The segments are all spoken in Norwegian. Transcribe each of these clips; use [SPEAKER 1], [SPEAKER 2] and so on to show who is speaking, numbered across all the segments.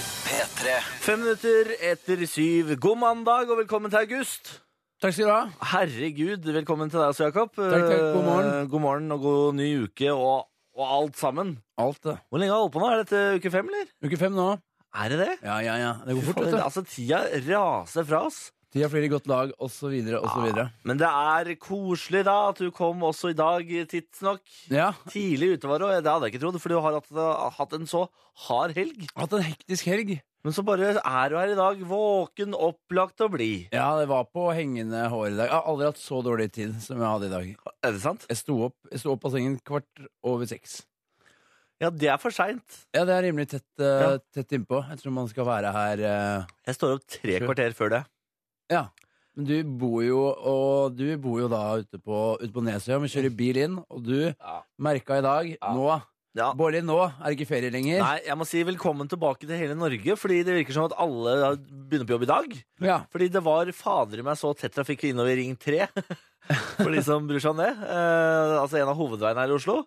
[SPEAKER 1] P3.
[SPEAKER 2] Fem minutter etter syv. God mandag og velkommen til august.
[SPEAKER 3] Takk skal du ha.
[SPEAKER 2] Herregud, velkommen til deg også, Jakob.
[SPEAKER 3] takk. God morgen.
[SPEAKER 2] Eh, God morgen og god ny uke og, og alt sammen.
[SPEAKER 3] Alt, det.
[SPEAKER 2] Hvor lenge har du holdt på nå? Er dette uke fem, eller?
[SPEAKER 3] Uke fem nå.
[SPEAKER 2] Er det det?
[SPEAKER 3] Ja, ja, ja. Det går fort,
[SPEAKER 2] Fader,
[SPEAKER 3] vet du.
[SPEAKER 2] Altså, tida raser fra oss. Ah,
[SPEAKER 3] Tida flyr i godt lag, og så videre, og så videre.
[SPEAKER 2] Men det er koselig da at du kom også i dag, tidsnok.
[SPEAKER 3] Ja.
[SPEAKER 2] Tidlig ute var du, og det hadde jeg ikke trodd, for du har hatt, hatt en så hard helg.
[SPEAKER 3] Hatt en hektisk helg.
[SPEAKER 2] Men så bare er du her i dag, våken, opplagt og blid.
[SPEAKER 3] Ja, det var på hengende hår i dag. Jeg har aldri hatt så dårlig tid som jeg hadde i dag.
[SPEAKER 2] Er det sant?
[SPEAKER 3] Jeg sto opp, jeg sto opp av sengen kvart over seks.
[SPEAKER 2] Ja, det er for seint.
[SPEAKER 3] Ja, det er rimelig tett, eh,
[SPEAKER 2] Ja.
[SPEAKER 3] tett innpå. Jeg tror man skal være her eh,
[SPEAKER 2] Jeg står opp tre
[SPEAKER 3] Sure.
[SPEAKER 2] kvarter før det.
[SPEAKER 3] Ja. Men du bor jo, og du bor jo da ute på, ute på Nesøya, men kjører bil inn, og du
[SPEAKER 2] Ja.
[SPEAKER 3] merka i dag Nå,
[SPEAKER 2] Ja.
[SPEAKER 3] Bårli, nå er det ikke ferie lenger.
[SPEAKER 2] Nei, jeg må si velkommen tilbake til hele Norge, fordi det virker som at alle da begynner på jobb i dag.
[SPEAKER 3] Ja.
[SPEAKER 2] Fordi det var fader i meg så tett trafikk innover Ring 3, for de som bryr seg om det. Eh, altså en av hovedveiene her i Oslo.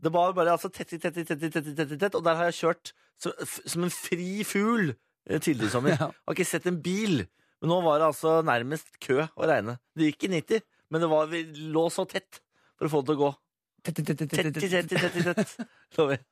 [SPEAKER 2] Det var bare altså tett, i, tett, i, tett, i, tett, i, tett, i, tett, og der har jeg kjørt som, f- som en fri fugl eh, tidligere i sommer.
[SPEAKER 3] Ja.
[SPEAKER 2] Har ikke sett en bil. Men nå var det altså nærmest kø å regne. Det gikk i 90, men det var, vi lå så tett for å få det til å gå.
[SPEAKER 3] Tett, tett, tett,
[SPEAKER 2] Tett
[SPEAKER 3] tett,
[SPEAKER 2] i
[SPEAKER 3] tett.
[SPEAKER 2] tett i tett i tett. Lover.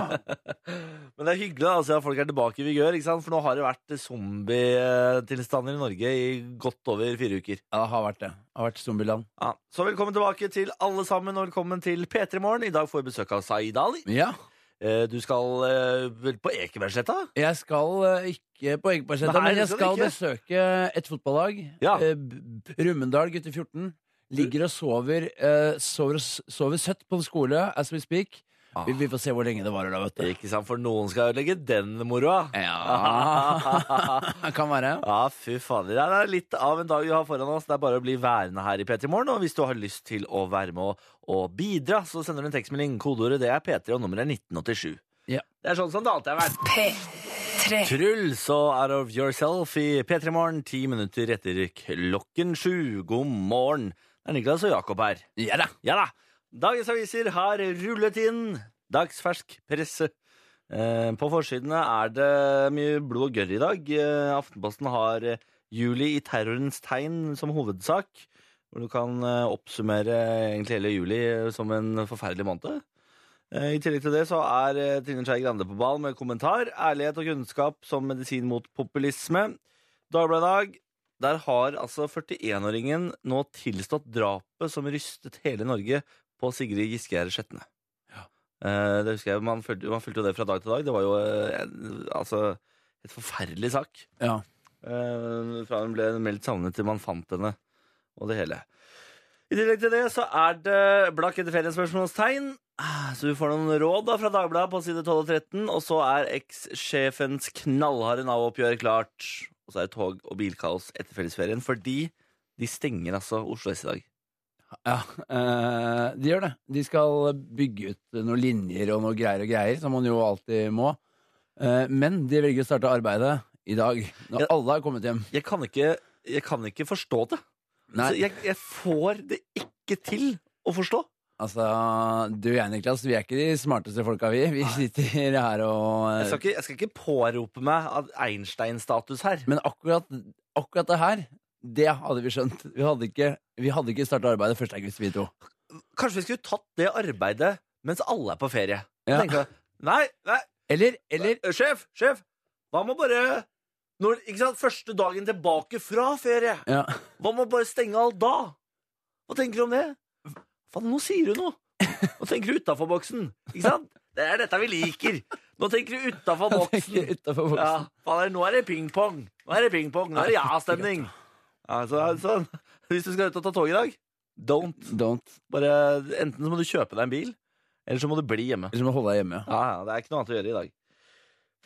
[SPEAKER 2] Men det er hyggelig altså, at folk er tilbake i vigør, ikke sant? for nå har det vært zombietilstander i Norge i godt over fire uker.
[SPEAKER 3] Ja, det har vært det. Det har vært zombieland.
[SPEAKER 2] Ja. Så velkommen tilbake til alle sammen, og velkommen til P3 Morgen. I dag får vi besøk av Zaid Ali.
[SPEAKER 3] Ja.
[SPEAKER 2] Eh, Du skal eh, vel på Ekebergsletta?
[SPEAKER 3] Jeg skal eh, ikke på Ekebergsletta,
[SPEAKER 2] Nei,
[SPEAKER 3] men jeg
[SPEAKER 2] det skal
[SPEAKER 3] skal
[SPEAKER 2] du ikke.
[SPEAKER 3] besøke et fotballag.
[SPEAKER 2] Ja.
[SPEAKER 3] Eh, B- Brumunddal gutter 14. Ligger og sover, eh, sover, sover søtt på en skole as we speak. Vi, vi får se hvor lenge det varer da, vet du.
[SPEAKER 2] Ikke sant, for noen skal ødelegge den moroa. Ah.
[SPEAKER 3] Ja Det kan være.
[SPEAKER 2] Ja, fy fader. Det er litt av en dag vi har foran oss. Det er bare å bli værende her i P3 Morgen. Og hvis du har lyst til å være med og, og bidra, så sender du en tekstmelding. Kodeordet det er P3, og nummeret er 1987.
[SPEAKER 3] Ja.
[SPEAKER 2] Det er sånn som det alltid har vært.
[SPEAKER 4] P3.
[SPEAKER 2] Truls og Out of Yourself i P3 Morgen, ti minutter etter klokken sju. God morgen. Det er Niklas og Jakob her.
[SPEAKER 3] Ja da.
[SPEAKER 2] Ja da. Dagens aviser har rullet inn. Dagsfersk presse. Eh, på forsidene er det mye blod og gørr i dag. Eh, Aftenposten har eh, 'Juli i terrorens tegn' som hovedsak. Hvor du kan eh, oppsummere egentlig hele juli eh, som en forferdelig måned. Eh, I tillegg til det så er eh, Trine Skei Grande på ball med kommentar. 'Ærlighet og kunnskap som medisin mot populisme'. Dagbladet i dag der har altså 41-åringen nå tilstått drapet som rystet hele Norge på Sigrid Giskegjerde Sjetne. Eh, Det husker jeg, man fulgte, man fulgte jo det fra dag til dag. Det var jo eh, en, altså et forferdelig sak.
[SPEAKER 3] Ja.
[SPEAKER 2] Eh, Fra hun ble meldt savnet til man fant henne, og det hele. I tillegg til det så er det blakk etter feriespørsmålstegn. Ah, Så du får noen råd da fra Dagbladet på side 12 og 13. Og så er eks-sjefens knallharde Nav-oppgjør klart. Og så er det tog- og bilkaos etter fellesferien, fordi de stenger altså Oslo S i dag.
[SPEAKER 3] Ja, eh, de gjør det. De skal bygge ut noen linjer og noe greier og greier, som man jo alltid må. Eh, men de velger å starte arbeidet i dag, når
[SPEAKER 2] Ja.
[SPEAKER 3] alle har kommet hjem.
[SPEAKER 2] Jeg kan ikke, jeg kan ikke forstå det.
[SPEAKER 3] Nei,
[SPEAKER 2] Så jeg, jeg får det ikke til å forstå.
[SPEAKER 3] altså, du og jeg, Niklas, vi er ikke de smarteste folka, vi. Vi sitter her og
[SPEAKER 2] Jeg
[SPEAKER 3] eh,
[SPEAKER 2] skal ikke, jeg skal ikke pårope meg at Einstein-status her.
[SPEAKER 3] Men akkurat, akkurat det her, det hadde vi skjønt. Vi hadde ikke, vi hadde ikke starta arbeidet 1. august, vi to.
[SPEAKER 2] Kanskje vi skulle tatt det arbeidet mens alle er på ferie.
[SPEAKER 3] Ja.
[SPEAKER 2] Tenker jeg, Nei, nei,
[SPEAKER 3] Eller, eller
[SPEAKER 2] Eh, Sjef, sjef, hva med bare når, Ikke sant, første dagen tilbake fra ferie
[SPEAKER 3] ja.
[SPEAKER 2] Hva med bare stenge alt da? Hva tenker du om det? Faen, nå sier du noe Nå tenker du utenfor boksen, ikke sant? Det er dette vi liker Nå tenker du utenfor boksen
[SPEAKER 3] Utafor boksen.
[SPEAKER 2] ja, faen, Nå er det pingpong Nå er det pingpong, nå er det ja-stemning ja, så, er det sånn. Hvis du skal ut og ta tog i dag Don't
[SPEAKER 3] Don't.
[SPEAKER 2] bare, Enten så må du kjøpe deg en bil Eller så må du bli hjemme
[SPEAKER 3] Eller så må du holde deg hjemme.
[SPEAKER 2] ja, ja, det er ikke noe annet å gjøre i dag.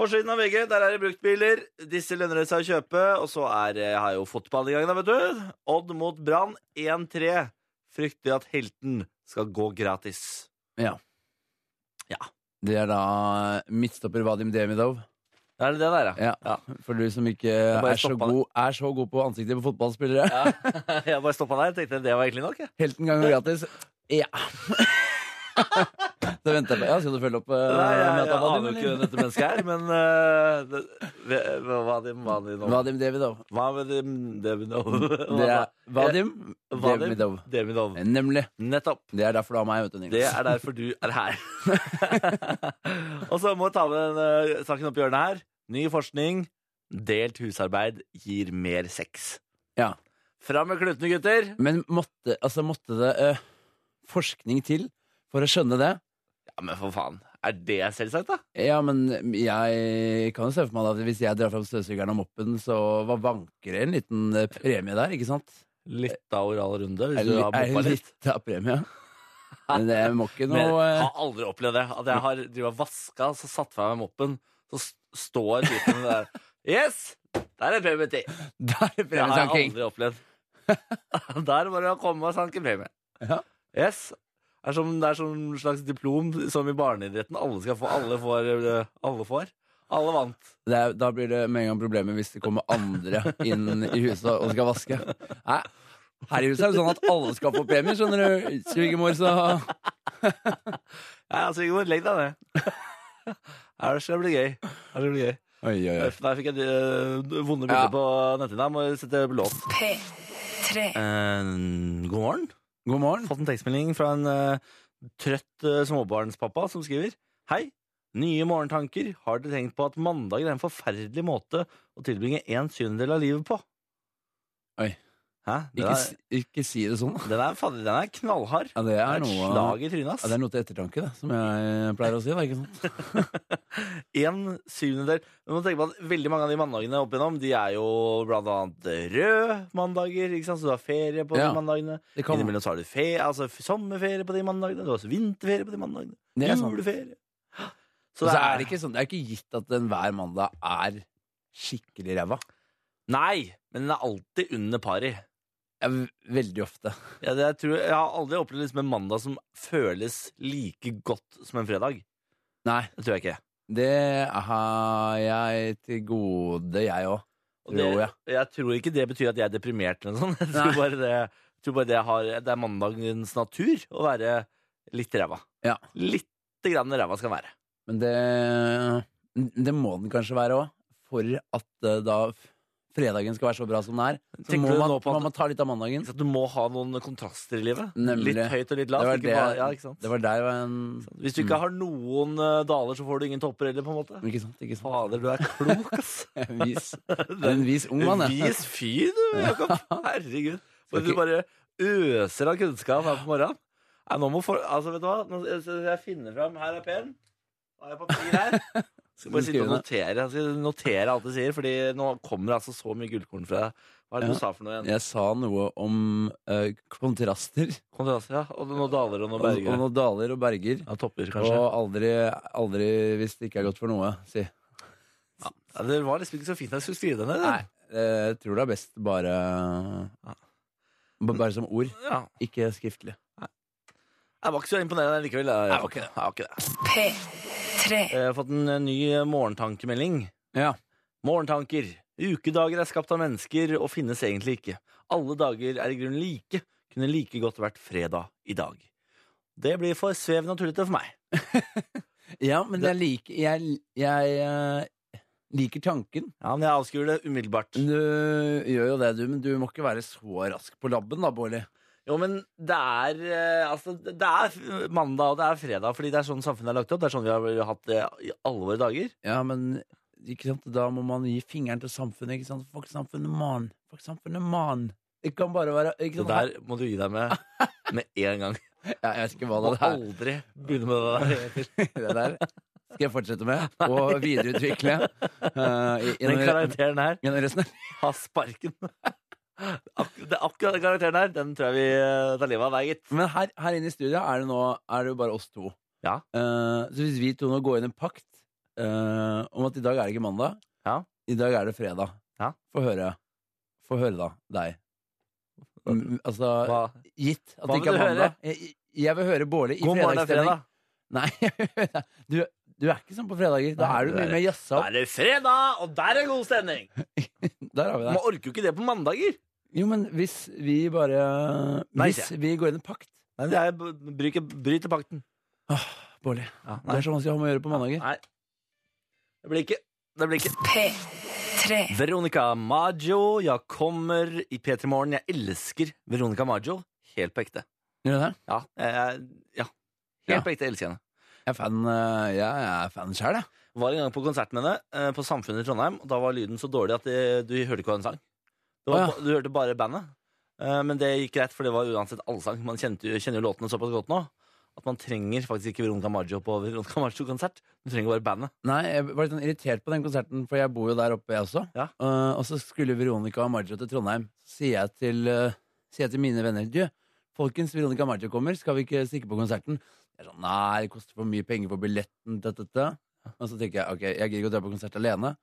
[SPEAKER 2] Forsiden av VG, der er det bruktbiler. Disse lønner det seg å kjøpe. Og så er, eh, har jo fotball i gang, da, vet du. Odd mot Brann 1-3. Frykter at helten skal gå gratis.
[SPEAKER 3] Det er da midtstopper Vadim Demidov.
[SPEAKER 2] Er det det der,
[SPEAKER 3] Ja, For du som ikke
[SPEAKER 2] bare
[SPEAKER 3] er så,
[SPEAKER 2] stoppa
[SPEAKER 3] god, er så god på ansiktet på fotballspillere.
[SPEAKER 2] ja. Jeg bare stoppa der. Tenkte det var egentlig nok. jeg.
[SPEAKER 3] Helten ganger gratis. Ja. Så venter jeg på Ja, skal du følge opp? eh,
[SPEAKER 2] Nei, jeg, jeg,
[SPEAKER 3] med at han var
[SPEAKER 2] aner jo
[SPEAKER 3] din,
[SPEAKER 2] ikke hvem
[SPEAKER 3] eller?
[SPEAKER 2] dette mennesket er, men eh, det, ve- Vadim Vadinov.
[SPEAKER 3] Vadim Davidov.
[SPEAKER 2] Vadim Devinov.
[SPEAKER 3] Det er Vadim
[SPEAKER 2] eh, Vadim
[SPEAKER 3] Davidov.
[SPEAKER 2] Devinov.
[SPEAKER 3] Nemlig.
[SPEAKER 2] Nettopp.
[SPEAKER 3] Det er derfor du har meg, vet du,
[SPEAKER 2] Det
[SPEAKER 3] Niklas.
[SPEAKER 2] er derfor du er her. Og så må vi ta med den eh, saken opp i hjørnet her. Ny forskning. Delt husarbeid gir mer sex.
[SPEAKER 3] Ja.
[SPEAKER 2] Fram med klutene, gutter!
[SPEAKER 3] Men måtte, altså, måtte det eh, forskning til for å skjønne det?
[SPEAKER 2] Ja, men for faen. Er det selvsagt, da?
[SPEAKER 3] Ja, men jeg kan jo se for meg at hvis jeg drar fram støvsugeren og moppen, så hva vanker det en liten eh, premie der, ikke sant?
[SPEAKER 2] Litt av oral runde,
[SPEAKER 3] Er
[SPEAKER 2] hvis du har
[SPEAKER 3] er
[SPEAKER 2] moppa litt.
[SPEAKER 3] litt av premie. Men det må ikke
[SPEAKER 2] Men
[SPEAKER 3] noe
[SPEAKER 2] jeg
[SPEAKER 3] eh,
[SPEAKER 2] har aldri opplevd det. At jeg har drivet og vaska, så satt fra meg moppen, så s- står typen der Yes! Der er premie til!
[SPEAKER 3] Da
[SPEAKER 2] Det har
[SPEAKER 3] er sånn, det
[SPEAKER 2] jeg
[SPEAKER 3] premiesanking.
[SPEAKER 2] aldri opplevd. Der bare å komme og sanke premie.
[SPEAKER 3] Ja.
[SPEAKER 2] Yes. Det er som, det er som en slags diplom som i barneidretten. Alle skal få, alle får. eh, Alle, får. alle vant.
[SPEAKER 3] Det er- Da blir det med en gang problemer hvis det kommer andre inn i huset og skal vaske. Nei, her i huset er det sånn at alle skal få premie, skjønner du. Svigermor, så
[SPEAKER 2] Nei, altså, Ingeborg, legg deg ned. Her skal det bli gøy. Her skal det bli gøy.
[SPEAKER 3] Oi, oi, oi.
[SPEAKER 2] Uff, Der fikk jeg eh, vonde bilder
[SPEAKER 3] Ja.
[SPEAKER 2] på netthinna. Må sette på låt.
[SPEAKER 1] P3.
[SPEAKER 2] Eh, god morgen.
[SPEAKER 3] God morgen.
[SPEAKER 2] Fått en tekstmelding fra en eh, trøtt eh, småbarnspappa som skriver Hei, nye morgentanker. Har dere tenkt på at mandag er en forferdelig måte å tilbringe en syvendedel av livet på?
[SPEAKER 3] Oi.
[SPEAKER 2] Hæ? Den
[SPEAKER 3] Ikke,
[SPEAKER 2] er,
[SPEAKER 3] si- ikke si det sånn.
[SPEAKER 2] den er, fader, den er knallhard.
[SPEAKER 3] Ja, det
[SPEAKER 2] Det
[SPEAKER 3] er
[SPEAKER 2] er et
[SPEAKER 3] noe
[SPEAKER 2] slag i trynet,
[SPEAKER 3] ja, det er
[SPEAKER 2] ass.
[SPEAKER 3] noe til ettertanke, det, som jeg pleier å si. Da, ikke sant?
[SPEAKER 2] En syvendedel. Du må tenke på at veldig mange av de mandagene opp igjennom, de er jo blant annet røde mandager, ikke sant? så du har ferie på
[SPEAKER 3] Ja.
[SPEAKER 2] de mandagene.
[SPEAKER 3] Det kan
[SPEAKER 2] Innimellom så har du fe altså, f- sommerferie på de mandagene, du har også vinterferie på de mandagene.
[SPEAKER 3] Det er sant.
[SPEAKER 2] Juleferie.
[SPEAKER 3] Så det er, det ikke sånn, det er ikke gitt at enhver mandag er skikkelig ræva.
[SPEAKER 2] Nei, men den er alltid under pari.
[SPEAKER 3] Ja, v- veldig ofte.
[SPEAKER 2] Jeg, jeg, tror, jeg har aldri opplevd liksom en mandag som føles like godt som en fredag.
[SPEAKER 3] Nei,
[SPEAKER 2] Det tror jeg ikke.
[SPEAKER 3] det har jeg til gode, jeg òg.
[SPEAKER 2] Og det,
[SPEAKER 3] Tror jeg.
[SPEAKER 2] jeg tror ikke det betyr at jeg er deprimert eller noe sånt. Jeg tror
[SPEAKER 3] Nei.
[SPEAKER 2] bare det, jeg tror bare det, har, det er mandagens natur å være litt ræva.
[SPEAKER 3] Ja.
[SPEAKER 2] Litt grann ræva skal den være.
[SPEAKER 3] Men det, det må den kanskje være òg. For at eh, da f- fredagen skal være så bra som den er, så
[SPEAKER 2] Tenker
[SPEAKER 3] må
[SPEAKER 2] du
[SPEAKER 3] man,
[SPEAKER 2] nå på at-
[SPEAKER 3] må man ta litt av mandagen.
[SPEAKER 2] Så at du må ha noen kontraster i livet.
[SPEAKER 3] Nemlig.
[SPEAKER 2] Litt høyt og litt
[SPEAKER 3] Det
[SPEAKER 2] lavt.
[SPEAKER 3] var
[SPEAKER 2] ikke
[SPEAKER 3] det-
[SPEAKER 2] bare, ja, ikke sant?
[SPEAKER 3] Det var Mm. der var en
[SPEAKER 2] Hvis du ikke har noen eh, daler, så får du ingen topper heller, på en måte.
[SPEAKER 3] Ikke sant? Ikke sant?
[SPEAKER 2] Fader, du er klok, ass.
[SPEAKER 3] En vis, en vis ung mann, jeg.
[SPEAKER 2] Vis fyr, du, Jakob. Herregud.
[SPEAKER 3] Skal
[SPEAKER 2] Hvor du
[SPEAKER 3] ikke-
[SPEAKER 2] bare øser av kunnskap her på morgenen. Nei, nå må for... Altså, vet du hva? Nå jeg, jeg finner fram Her er pen. Nå har jeg papir her. Skal bare sitte og notere. Jeg skal notere alt du sier, Fordi nå kommer altså så mye gullkorn fra deg. Hva er det
[SPEAKER 3] Ja.
[SPEAKER 2] du sa for noe igjen?
[SPEAKER 3] Jeg sa noe om eh, kontraster.
[SPEAKER 2] Kontraster, ja. Og noen daler og noen
[SPEAKER 3] Og, og
[SPEAKER 2] berger.
[SPEAKER 3] noen daler og berger.
[SPEAKER 2] Ja, topper, kanskje.
[SPEAKER 3] Og aldri, aldri hvis det ikke er godt for noe, si.
[SPEAKER 2] Ja, det var liksom ikke så fint at jeg skulle skrive det ned.
[SPEAKER 3] Nei,
[SPEAKER 2] det.
[SPEAKER 3] eh, jeg tror det er best bare ba- Bare som ord,
[SPEAKER 2] Ja.
[SPEAKER 3] ikke skriftlig.
[SPEAKER 2] Jeg var ikke så imponerende likevel. Jeg,
[SPEAKER 3] Nei, ok.
[SPEAKER 2] jeg var ikke det.
[SPEAKER 1] P3.
[SPEAKER 2] Jeg har fått en eh, ny eh, morgentankemelding.
[SPEAKER 3] Ja.
[SPEAKER 2] Morgentanker. Ukedager er skapt av mennesker og finnes egentlig ikke. Alle dager er i grunnen like. Kunne like godt vært fredag i dag. Det blir for svevende og tullete for meg.
[SPEAKER 3] Ja, men jeg liker Jeg, jeg eh, liker tanken.
[SPEAKER 2] Ja, men jeg avskuer det umiddelbart.
[SPEAKER 3] Du gjør jo det, du, men du må ikke være så rask på labben, da, Bårli.
[SPEAKER 2] Jo, men det er eh, Altså, det er mandag, og det er fredag, fordi det er sånn samfunnet er lagt opp. Det er sånn vi har hatt det i alle våre dager.
[SPEAKER 3] Ja, men ikke sant? da må man gi fingeren til samfunnet. Ikke sant? Fuck samfunnet, mann! Fuck samfunnet, mann! Det kan bare være ikke
[SPEAKER 2] Det
[SPEAKER 3] sant?
[SPEAKER 2] der må du gi deg med med en gang.
[SPEAKER 3] Ja, jeg vet ikke hva
[SPEAKER 2] Og
[SPEAKER 3] det er.
[SPEAKER 2] aldri begynne med det der.
[SPEAKER 3] det der skal jeg fortsette med og videreutvikle. eh,
[SPEAKER 2] Den
[SPEAKER 3] i- gjennom-
[SPEAKER 2] karakteren her
[SPEAKER 3] gjennom resten av-
[SPEAKER 2] Ha sparken. Ak det, akkurat den karakteren her, den tror jeg vi eh, tar livet av deg, gitt.
[SPEAKER 3] Men her, her inne i studio er det nå er det jo bare oss to.
[SPEAKER 2] Ja.
[SPEAKER 3] Eh, så hvis vi to nå går inn i en pakt eh, om at i dag er det ikke mandag,
[SPEAKER 2] Ja.
[SPEAKER 3] i dag er det fredag
[SPEAKER 2] Ja.
[SPEAKER 3] Få høre. Få høre, da. Deg. Mm, altså,
[SPEAKER 2] Hva?
[SPEAKER 3] gitt at
[SPEAKER 2] hva
[SPEAKER 3] det ikke
[SPEAKER 2] vil
[SPEAKER 3] er
[SPEAKER 2] du
[SPEAKER 3] mandag. Jeg, jeg vil høre Bårli i
[SPEAKER 2] God morgen, det er
[SPEAKER 3] fredagsstemning.
[SPEAKER 2] fredag.
[SPEAKER 3] Nei, du, du er ikke sånn på fredager. Da
[SPEAKER 2] Nei,
[SPEAKER 3] er du
[SPEAKER 2] du er-
[SPEAKER 3] mye mer jazza
[SPEAKER 2] Da
[SPEAKER 3] opp.
[SPEAKER 2] er det fredag, og der er god stemning!
[SPEAKER 3] Der har vi det.
[SPEAKER 2] Man orker jo ikke det på mandager.
[SPEAKER 3] Jo, men hvis vi bare
[SPEAKER 2] Nei,
[SPEAKER 3] Hvis vi går inn i pakt
[SPEAKER 2] Nei, det er b- bryke- Bryter pakten.
[SPEAKER 3] Bårli.
[SPEAKER 2] Ja,
[SPEAKER 3] Det er så vanskelig å ha med å gjøre på mandager.
[SPEAKER 2] Nei. Det blir ikke. Det blir ikke.
[SPEAKER 1] P3
[SPEAKER 2] Veronica Maggio, jeg kommer i P3 Morgen. Jeg elsker Veronica Maggio. Helt på ekte.
[SPEAKER 3] Gjør du det?
[SPEAKER 2] Ja. jeg- ja. Helt
[SPEAKER 3] Ja.
[SPEAKER 2] på ekte elsker henne.
[SPEAKER 3] Jeg er fan, eh, jeg er fan sjæl, jeg.
[SPEAKER 2] Var en gang på konsert med henne eh, på Samfunnet i Trondheim. og Da var lyden så dårlig at det, du hørte ikke hva hun sang. Det var,
[SPEAKER 3] Å, ja.
[SPEAKER 2] ba- Du hørte bare bandet. Eh, Men det gikk greit, for det var uansett allsang. Man kjente, jo- kjenner jo låtene såpass godt nå at man trenger faktisk ikke Veronica Maggio på Veronica Maggio-konsert. Du trenger bare bandet.
[SPEAKER 3] Nei, jeg var litt sånn irritert på den konserten, for jeg bor jo der oppe, jeg også.
[SPEAKER 2] Ja.
[SPEAKER 3] Eh, og så skulle Veronica og Maggio til Trondheim. Så sier jeg til, eh, sier jeg til mine venner Du, folkens, Veronica og Maggio kommer, skal vi ikke stikke på konserten? Jeg er sånn, Nei, det koster for mye penger for billetten. Dette, dette. Og så tenker jeg ok, jeg gidder ikke å dra på konsert alene.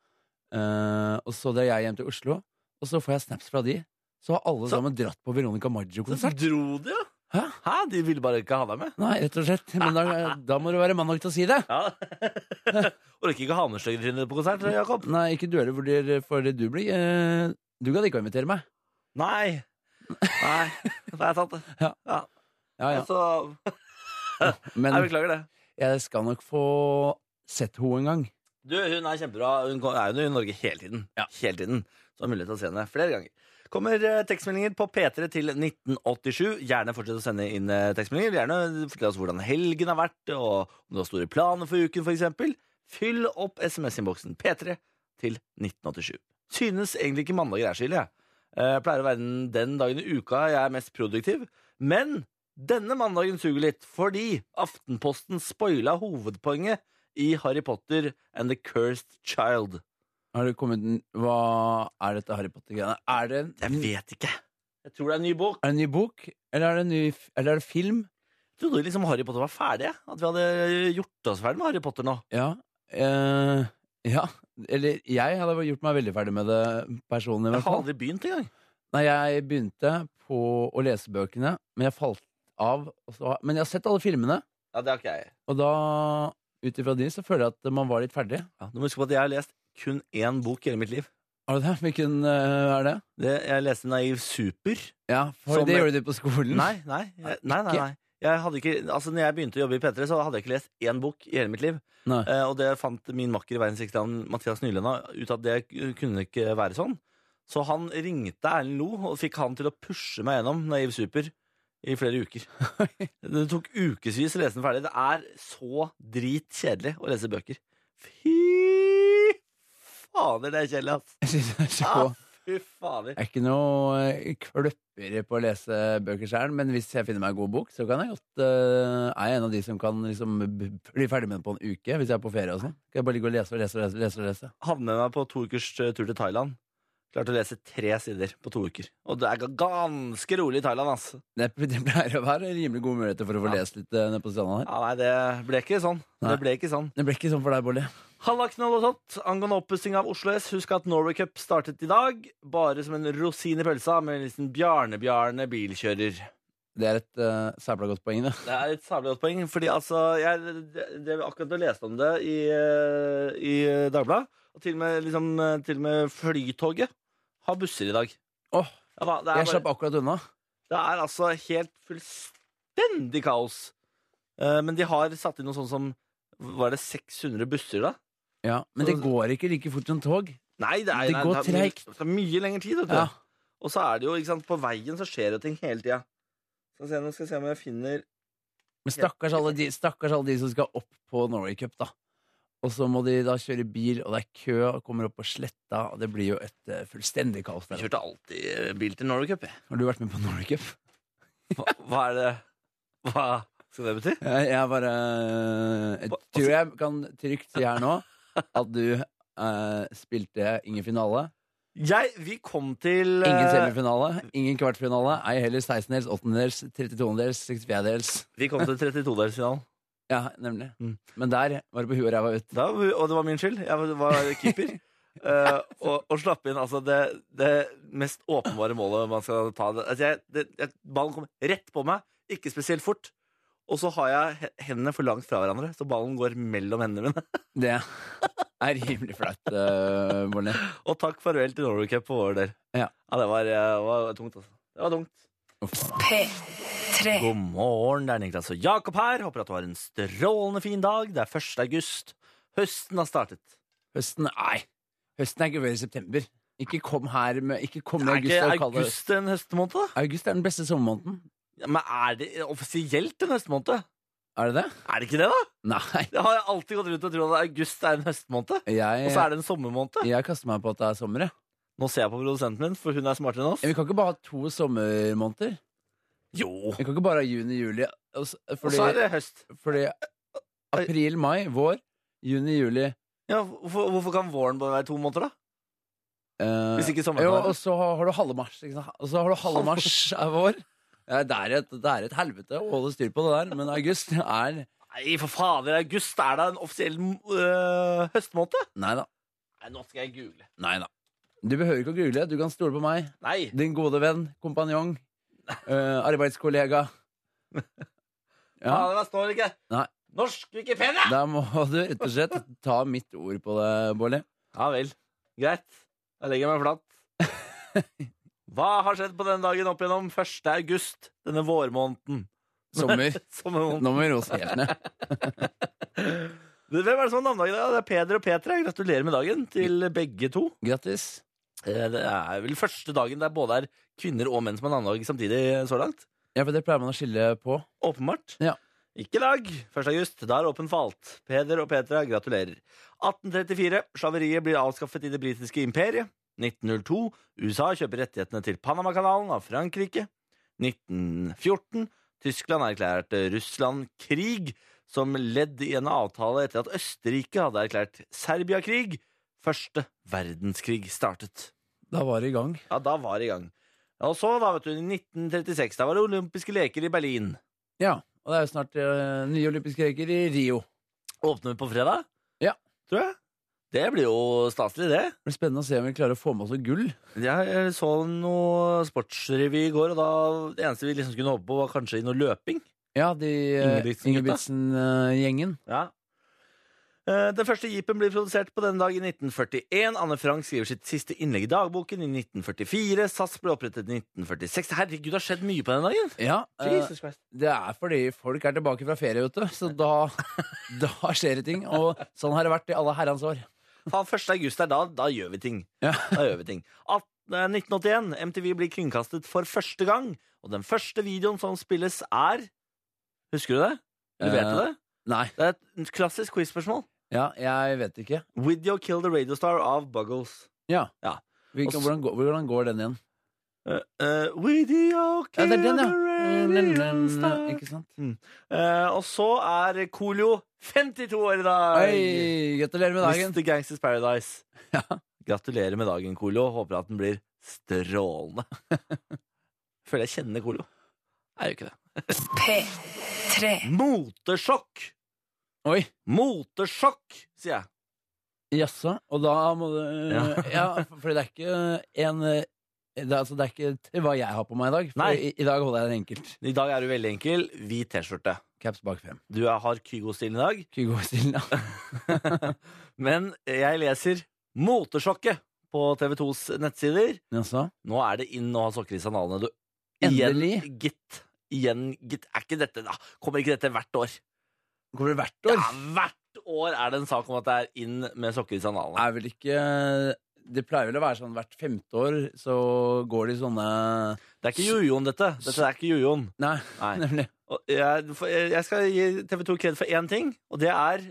[SPEAKER 3] Eh, og så drar jeg hjem til Oslo, og så får jeg snaps fra de. Så har alle
[SPEAKER 2] Så-
[SPEAKER 3] sammen dratt på Veronica
[SPEAKER 2] Så
[SPEAKER 3] Maggio-konsert.
[SPEAKER 2] dro de, ja!
[SPEAKER 3] Hæ?
[SPEAKER 2] Hæ? De ville bare ikke ha deg med.
[SPEAKER 3] Nei, rett og slett. Men da, da må du være mann nok til å si det.
[SPEAKER 2] Ja. Orker ikke ha med sløyfetrynet på konsert, Jakob.
[SPEAKER 3] Nei, ikke du heller, for det- for det du blir. Eh, du gadd ikke å invitere meg.
[SPEAKER 2] Nei. Nei, da har jeg tatt det.
[SPEAKER 3] Ja, ja.
[SPEAKER 2] Altså, jeg
[SPEAKER 3] Men
[SPEAKER 2] beklager det.
[SPEAKER 3] jeg skal nok få sett henne en gang.
[SPEAKER 2] Du, hun er kjempebra. Hun ko- er jo i Norge hele tiden. Hele tiden. Så har mulighet til å se henne flere ganger. Kommer eh, tekstmeldinger på P3 til 1987. Gjerne fortsett å sende inn eh, tekstmeldinger. Gjerne fortell oss hvordan helgen har vært, og om du har store planer for uken, f.eks. Fyll opp SMS-innboksen P3 til 1987. Synes egentlig ikke mandager er så ille, jeg. Eh, Jeg pleier å være den- den dagen i uka jeg er mest produktiv. Men denne mandagen suger litt, fordi Aftenposten spoila hovedpoenget i Harry Potter and the Cursed Child.
[SPEAKER 3] Har det kommet en- Hva er dette Harry Potter-greiene? Er det,
[SPEAKER 2] Jeg
[SPEAKER 3] en-
[SPEAKER 2] vet ikke. Mm. Jeg tror det er en ny bok.
[SPEAKER 3] er det en ny bok? Eller er det en ny f- Eller er det film?
[SPEAKER 2] Jeg trodde liksom Harry Potter var ferdig. jeg. At vi hadde gjort oss ferdig med Harry Potter nå.
[SPEAKER 3] Ja. Eh, ja. Eller jeg hadde gjort meg veldig ferdig med det personlig.
[SPEAKER 2] Jeg
[SPEAKER 3] i hvert
[SPEAKER 2] har
[SPEAKER 3] fall.
[SPEAKER 2] aldri begynt engang.
[SPEAKER 3] Nei, jeg begynte på å lese bøkene, men jeg falt av. og så- Men jeg har sett alle filmene,
[SPEAKER 2] Ja, det har ikke jeg.
[SPEAKER 3] og da, ut ifra de, så føler jeg at man var litt ferdig.
[SPEAKER 2] Ja, du må huske på at jeg har lest kun én bok i hele mitt liv.
[SPEAKER 3] Har du det? Hvilken eh, er det?
[SPEAKER 2] Det, jeg leste Naiv Super.
[SPEAKER 3] Ja, for
[SPEAKER 2] Som-
[SPEAKER 3] det gjorde du på skolen.
[SPEAKER 2] Nei, nei, jeg- nei, nei, nei. Jeg hadde ikke, altså når jeg begynte å jobbe i P3, så hadde jeg ikke lest én bok i hele mitt liv.
[SPEAKER 3] Nei.
[SPEAKER 2] Eh, og det fant min makker i Verdens rikeste land, Mathias Nylenda, ut at det kunne ikke være sånn. Så han ringte Erlend Lo og fikk han til å pushe meg gjennom Naiv Super i flere uker. Det tok ukevis å lese den ferdig. Det er så dritkjedelig å lese bøker. Fy fader, det er kjedelig, ass.
[SPEAKER 3] Jeg synes det er så
[SPEAKER 2] Ah, fy fader.
[SPEAKER 3] Jeg er ikke noe eh, kløpper på å lese bøker sjøl, men hvis jeg finner meg en god bok, så kan jeg godt eh, Er jeg en av de som kan liksom b- bli ferdig med den på en uke, hvis jeg er på ferie og sånn? Kan jeg bare ligge og lese og lese og lese og lese? Og lese.
[SPEAKER 2] hadde med meg på to ukers eh, tur til Thailand. Klarte å lese tre sider på to uker. Og det er ga- ganske rolig i Thailand, altså. ass.
[SPEAKER 3] Det, det pleier å være rimelig gode muligheter for å få lest litt eh, nede på stranda her.
[SPEAKER 2] Ja, nei, det ble ikke sånn.
[SPEAKER 3] Nei.
[SPEAKER 2] Det ble ikke sånn.
[SPEAKER 3] Det ble ikke sånn for deg, Bolli.
[SPEAKER 2] Halla, knoll og tott. Angående oppussing av Oslo S, husk at Norway Cup startet i dag. Bare som en rosin i pølsa med en liten Bjarne-Bjarne bilkjører.
[SPEAKER 3] Det er et uh, sæpla godt poeng, det.
[SPEAKER 2] Det er et særlig godt poeng, fordi altså jeg, det, det, Akkurat jeg leste om det i, eh, i Dagbladet, og til og med, liksom, eh, til og med Flytoget har busser i dag.
[SPEAKER 3] Åh,
[SPEAKER 2] Ja, da, det er
[SPEAKER 3] jeg
[SPEAKER 2] bare-
[SPEAKER 3] slapp akkurat unna.
[SPEAKER 2] Det er altså helt fullstendig kaos. Eh, men de har satt inn noe sånn som Var det 600 busser, da?
[SPEAKER 3] Ja, Men det
[SPEAKER 2] Så-
[SPEAKER 3] går ikke like fort som tog.
[SPEAKER 2] Nei, det, er,
[SPEAKER 3] Det
[SPEAKER 2] nei,
[SPEAKER 3] går
[SPEAKER 2] tar mye-
[SPEAKER 3] tregt.
[SPEAKER 2] Det tar mye lengre tid. vet du
[SPEAKER 3] Ja.
[SPEAKER 2] Og så er det jo, ikke sant, på veien så skjer jo ting hele tida. Skal se, nå skal jeg se om jeg finner
[SPEAKER 3] Men stakkars alle, de, stakkars alle de som skal opp på Norway Cup, da. Og så må de da kjøre bil, og det er kø, og kommer opp på sletta, og det blir jo et eh, fullstendig kaos
[SPEAKER 2] Jeg
[SPEAKER 3] der.
[SPEAKER 2] kjørte alltid eh, bil til Norway Cup. jeg.
[SPEAKER 3] Har du vært med på Norway Cup?
[SPEAKER 2] Hva, hva er det Hva skal det bety?
[SPEAKER 3] Jeg, jeg bare Jeg
[SPEAKER 2] Hva-
[SPEAKER 3] tror jeg kan trygt si her nå at du eh, spilte ingen finale,
[SPEAKER 2] Jeg, vi kom til eh,
[SPEAKER 3] ingen semifinale, ingen kvartfinale, ei heller 16-dels, 8-dels, 32-dels, 64-dels.
[SPEAKER 2] Vi kom til 32-delsfinalen.
[SPEAKER 3] Ja, nemlig.
[SPEAKER 2] Mm.
[SPEAKER 3] Men der var det på huet og ræva ut.
[SPEAKER 2] Da- Og det var min skyld. Jeg var keeper. Eh, og, og slapp inn altså, det, det mest åpenbare målet man skal ta. Det- Altså, jeg, det, jeg, ballen kom rett på meg, ikke spesielt fort. Og så har jeg he- hendene for langt fra hverandre, så ballen går mellom hendene mine.
[SPEAKER 3] Det er rimelig flaut, uh, Bolle.
[SPEAKER 2] Og takk farvel til Norway Cup for vår del.
[SPEAKER 3] Ja.
[SPEAKER 2] det var, eh, var tungt, altså. Det var tungt.
[SPEAKER 3] Uff.
[SPEAKER 1] P3 tre,
[SPEAKER 2] God morgen, det er Niklas og Jakob her. Håper at du har en strålende fin dag. Det er 1. august. Høsten har startet.
[SPEAKER 3] Høsten Nei. Høsten er ikke før i september. Ikke kom her med Ikke kom med
[SPEAKER 2] Er
[SPEAKER 3] august
[SPEAKER 2] ikke
[SPEAKER 3] og kall det høst.
[SPEAKER 2] august en høstmåned, da?
[SPEAKER 3] August er den beste sommermåneden.
[SPEAKER 2] Ja, Men er det offisielt en høstmåned?
[SPEAKER 3] Er det det?
[SPEAKER 2] Er det ikke det, da?
[SPEAKER 3] Nei.
[SPEAKER 2] Jeg har alltid gått rundt og trodd at august er en høstmåned. Og
[SPEAKER 3] Jeg,
[SPEAKER 2] så er det en sommermåned.
[SPEAKER 3] jeg kaster meg på at det er sommer, jeg.
[SPEAKER 2] Nå ser jeg på produsenten min, for hun er smartere enn oss.
[SPEAKER 3] Men Vi kan ikke bare ha to sommermåneder.
[SPEAKER 2] Jo.
[SPEAKER 3] Vi kan ikke bare ha juni, juli. og s-
[SPEAKER 2] Og
[SPEAKER 3] Fordi,
[SPEAKER 2] så er det høst.
[SPEAKER 3] fordi april, mai, vår, juni, juli
[SPEAKER 2] Ja, hvorfor, hvorfor kan våren bare være to måneder, da?
[SPEAKER 3] eh,
[SPEAKER 2] Hvis ikke
[SPEAKER 3] Jo,
[SPEAKER 2] sommeren.
[SPEAKER 3] og så har har du halve mars. Ikke sant? Og så har du halve
[SPEAKER 2] Halve
[SPEAKER 3] mars er vår. Ja, Det er, et, det er et helvete å holde styr på det der, men august er
[SPEAKER 2] Nei, for fader, august er da en offisiell øh, høstmåned?
[SPEAKER 3] Nei da.
[SPEAKER 2] Nei, nå skal jeg google.
[SPEAKER 3] Nei da. Du behøver ikke å google, du kan stole på meg.
[SPEAKER 2] Nei.
[SPEAKER 3] Din gode venn, kompanjong, eh, arbeidskollega.
[SPEAKER 2] Ja.
[SPEAKER 3] Ja,
[SPEAKER 2] det står ikke.
[SPEAKER 3] Nei.
[SPEAKER 2] Norsk Wikipedia!
[SPEAKER 3] da må du rett og slett ta mitt ord på det, Bårli.
[SPEAKER 2] Ja vel. Greit. Jeg legger meg flatt. Hva har skjedd på denne dagen opp gjennom 1. august, denne vårmåneden?
[SPEAKER 3] Sommer.
[SPEAKER 2] Sommermåneden.
[SPEAKER 3] Nå må vi roe oss helt ned.
[SPEAKER 2] Du, Hvem er det som har navnedag i dag? Det er Peder og Petra. Gratulerer med dagen til begge to.
[SPEAKER 3] Grattis.
[SPEAKER 2] Eh, Det er vel første dagen der både er kvinner og menn som har navnedag samtidig så langt.
[SPEAKER 3] Ja, for det pleier man å skille på.
[SPEAKER 2] Åpenbart.
[SPEAKER 3] Ja.
[SPEAKER 2] Ikke i dag. 1. august. Da er åpen for alt. Peder og Petra, gratulerer. 1834. Slaveriet blir avskaffet i det britiske imperiet. 1902. USA kjøper rettighetene til Panamakanalen av Frankrike. 1914. Tyskland erklærte Russland krig som ledd i en avtale etter at Østerrike hadde erklært Serbia krig. Første verdenskrig startet.
[SPEAKER 3] Da var det i gang.
[SPEAKER 2] Ja, da var det i gang. Og så, da, vet du, i 1936. Da var det olympiske leker i Berlin.
[SPEAKER 3] Ja, og det er jo snart eh, nye olympiske leker i Rio.
[SPEAKER 2] Åpner vi på fredag?
[SPEAKER 3] Ja.
[SPEAKER 2] Tror jeg. Det blir jo staselig, det.
[SPEAKER 3] Det blir spennende å se om vi klarer å få med oss noe gull.
[SPEAKER 2] Jeg så noe sportsrevy i går, og da det eneste vi liksom kunne håpe på, var kanskje i noe løping.
[SPEAKER 3] Ja, de eh,
[SPEAKER 2] Ingebrigtsen-gutta.
[SPEAKER 3] Ingebrigtsen-gjengen.
[SPEAKER 2] Ja. Eh, Den første jeepen blir produsert på denne dag i 1941. Anne Frank skriver sitt siste innlegg i dagboken i 1944. SAS ble opprettet i 1946. Herregud, det har skjedd mye på den dagen!
[SPEAKER 3] Ja, eh,
[SPEAKER 2] Jesus Christ.
[SPEAKER 3] det er fordi folk er tilbake fra ferie, vet du. Så da, da skjer det ting. Og sånn har det vært i alle herrens år.
[SPEAKER 2] Faen, 1. august er da, da gjør vi ting.
[SPEAKER 3] Ja.
[SPEAKER 2] Da gjør vi ting. At, eh, 1981, MTV blir kringkastet for første gang, og den første videoen som spilles er Husker du det? Leverte
[SPEAKER 3] Eh.
[SPEAKER 2] det?
[SPEAKER 3] Nei.
[SPEAKER 2] Det er et klassisk quiz-spørsmål.
[SPEAKER 3] Ja, jeg vet ikke.
[SPEAKER 2] Would you kill the radio star av Buggles?
[SPEAKER 3] Ja.
[SPEAKER 2] Ja.
[SPEAKER 3] Hvilken,
[SPEAKER 2] Og s-
[SPEAKER 3] hvordan, går, hvordan går den igjen?
[SPEAKER 2] Uh, uh, Would you
[SPEAKER 3] Ja,
[SPEAKER 2] kill
[SPEAKER 3] det er den,
[SPEAKER 2] the
[SPEAKER 3] ja.
[SPEAKER 2] radio star?
[SPEAKER 3] Ikke sant?
[SPEAKER 2] Eh, og så er Coolio 52 år i dag!
[SPEAKER 3] Oi, gratulerer med dagen.
[SPEAKER 2] Mr. Gangsters Paradise.
[SPEAKER 3] Ja.
[SPEAKER 2] Gratulerer med dagen, Colo. Håper at den blir strålende. Føler jeg kjenner Colo. Er jo ikke det.
[SPEAKER 1] P3.
[SPEAKER 2] Motesjokk!
[SPEAKER 3] Oi,
[SPEAKER 2] Motesjokk, sier jeg.
[SPEAKER 3] jaså. Og da må du ja.
[SPEAKER 2] Ja.
[SPEAKER 3] for det er ikke en det er, altså, det er ikke til hva jeg har på meg i dag. For
[SPEAKER 2] Nei.
[SPEAKER 3] I, I dag holder jeg den enkelt.
[SPEAKER 2] I dag er du veldig enkel. Hvit T-skjorte.
[SPEAKER 3] Caps bak fem.
[SPEAKER 2] Du er- har Kygo-stil i dag.
[SPEAKER 3] Ikke gå stille. da.
[SPEAKER 2] Men jeg leser Motesjokket på TV2s nettsider.
[SPEAKER 3] Jaså.
[SPEAKER 2] Nå er det inn å ha sokker i sandalene, du.
[SPEAKER 3] Endelig.
[SPEAKER 2] Igjen, gitt. Igjen, gitt. Er ikke dette da? Kommer ikke dette hvert år?
[SPEAKER 3] Kommer det hvert år?
[SPEAKER 2] Ja, hvert år er det en sak om at det er inn med sokker i sandalene.
[SPEAKER 3] Er vel ikke Det pleier vel å være sånn hvert femte år så går de sånne
[SPEAKER 2] Det er ikke jojoen, dette. Dette er ikke jojoen.
[SPEAKER 3] Nei,
[SPEAKER 2] Nei.
[SPEAKER 3] nemlig.
[SPEAKER 2] Og Jeg, for- jeg skal gi TV 2 kred for én ting, og det er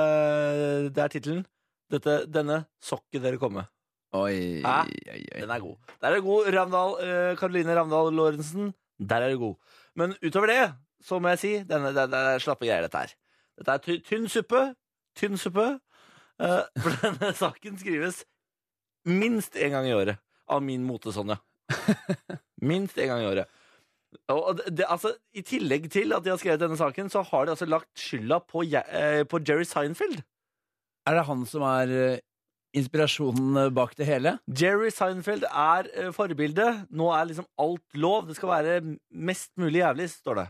[SPEAKER 2] eh, Det er tittelen. Dette, 'Denne sokken dere kom med'.
[SPEAKER 3] Oi,
[SPEAKER 2] Hæ?
[SPEAKER 3] oi, oi.
[SPEAKER 2] Den er god. Der er du god, Ravndal, eh, Karoline Ravndal Lorentzen. Der er du god. Men utover det, så må jeg si, denne, det, det er slappe greier, dette her. Dette er ty- tynn suppe. Tynn suppe. Eh, for denne saken skrives minst én gang i året av min mote, Sonja. Minst én gang i året. Og og det, det, altså, I tillegg til at de har skrevet denne saken, så har de altså lagt skylda på, Je- eh, på Jerry Seinfeld.
[SPEAKER 3] Er det han som er eh, inspirasjonen eh, bak det hele?
[SPEAKER 2] Jerry Seinfeld er eh, forbildet. Nå er liksom alt lov. Det skal være mest mulig jævlig, står det.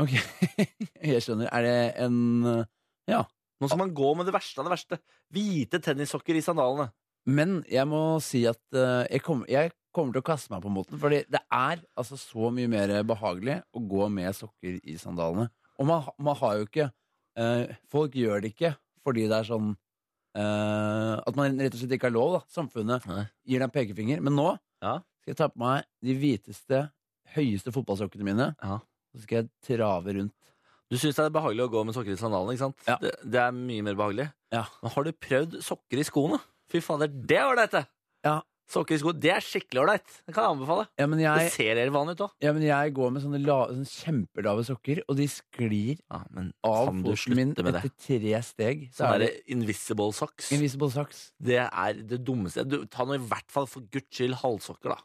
[SPEAKER 3] Ok, jeg skjønner. Er det en eh,
[SPEAKER 2] Nå skal man gå med det verste av det verste. Hvite tennissokker i sandalene.
[SPEAKER 3] Men jeg må si at eh, jeg, kom, jeg kommer til å kaste meg på moten. Fordi det er altså så mye mer behagelig å gå med sokker i sandalene. Og man, ha- man har jo ikke eh, Folk gjør det ikke fordi det er sånn eh, At man rett og slett ikke har lov. da Samfunnet
[SPEAKER 2] Nei.
[SPEAKER 3] gir deg en pekefinger. Men nå
[SPEAKER 2] Ja.
[SPEAKER 3] skal jeg ta på meg de hviteste, høyeste fotballsokkene mine.
[SPEAKER 2] Ja.
[SPEAKER 3] Så skal jeg trave rundt.
[SPEAKER 2] Du syns det er behagelig å gå med sokker i sandalene, ikke sant?
[SPEAKER 3] Ja.
[SPEAKER 2] Det, det er mye mer behagelig.
[SPEAKER 3] Ja.
[SPEAKER 2] Men har du prøvd sokker i skoene? Fy fader, det er ålreit, det!
[SPEAKER 3] Ja.
[SPEAKER 2] Sokker i sko, det er skikkelig ålreit. Det kan jeg anbefale.
[SPEAKER 3] Ja, men
[SPEAKER 2] Det
[SPEAKER 3] jeg,
[SPEAKER 2] ser helt vanlig ut òg.
[SPEAKER 3] ja, men jeg går med sånne, la, sånne kjempelave sokker, og de sklir
[SPEAKER 2] Ja, men
[SPEAKER 3] av
[SPEAKER 2] kan du
[SPEAKER 3] foten min
[SPEAKER 2] slutte med det?
[SPEAKER 3] etter tre steg. Så
[SPEAKER 2] Sånn
[SPEAKER 3] er det
[SPEAKER 2] derre invisible socks.
[SPEAKER 3] invisible socks.
[SPEAKER 2] Det er det dummeste. Du, ta nå i hvert fall for guds skyld halvsokker, da.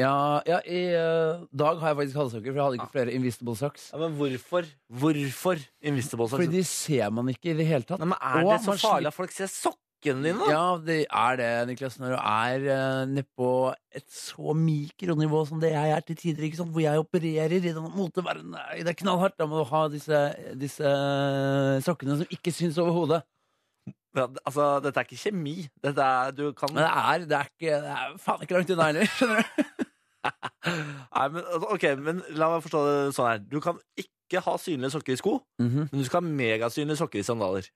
[SPEAKER 3] Ja, ja i eh, dag har jeg faktisk halssokker, for jeg hadde ikke flere invisible socks.
[SPEAKER 2] Ja, men hvorfor? Hvorfor invisible socks?
[SPEAKER 3] Fordi de ser man ikke i det hele tatt.
[SPEAKER 2] Nei, men er
[SPEAKER 3] Å,
[SPEAKER 2] det så
[SPEAKER 3] man
[SPEAKER 2] farlig at folk ser sokkene dine, da?
[SPEAKER 3] Ja, det er det, Niklas, når du er uh, nedpå et så mikronivå som det jeg er til tider, ikke sant? hvor jeg opererer i den moteverdenen. Nei, Det er knallhardt. Da må du ha disse, disse eh, sokkene som ikke syns overhodet.
[SPEAKER 2] Ja, d- altså, dette er ikke kjemi. Dette er, du kan
[SPEAKER 3] Men det er, det er ikke det er faen ikke langt unna heller, skjønner du.
[SPEAKER 2] Nei, men, altså, ok, men la meg forstå det sånn her. Du kan ikke ha synlige sokker i sko,
[SPEAKER 3] Mhm.
[SPEAKER 2] men du skal ha megasynlige sokker i sandaler.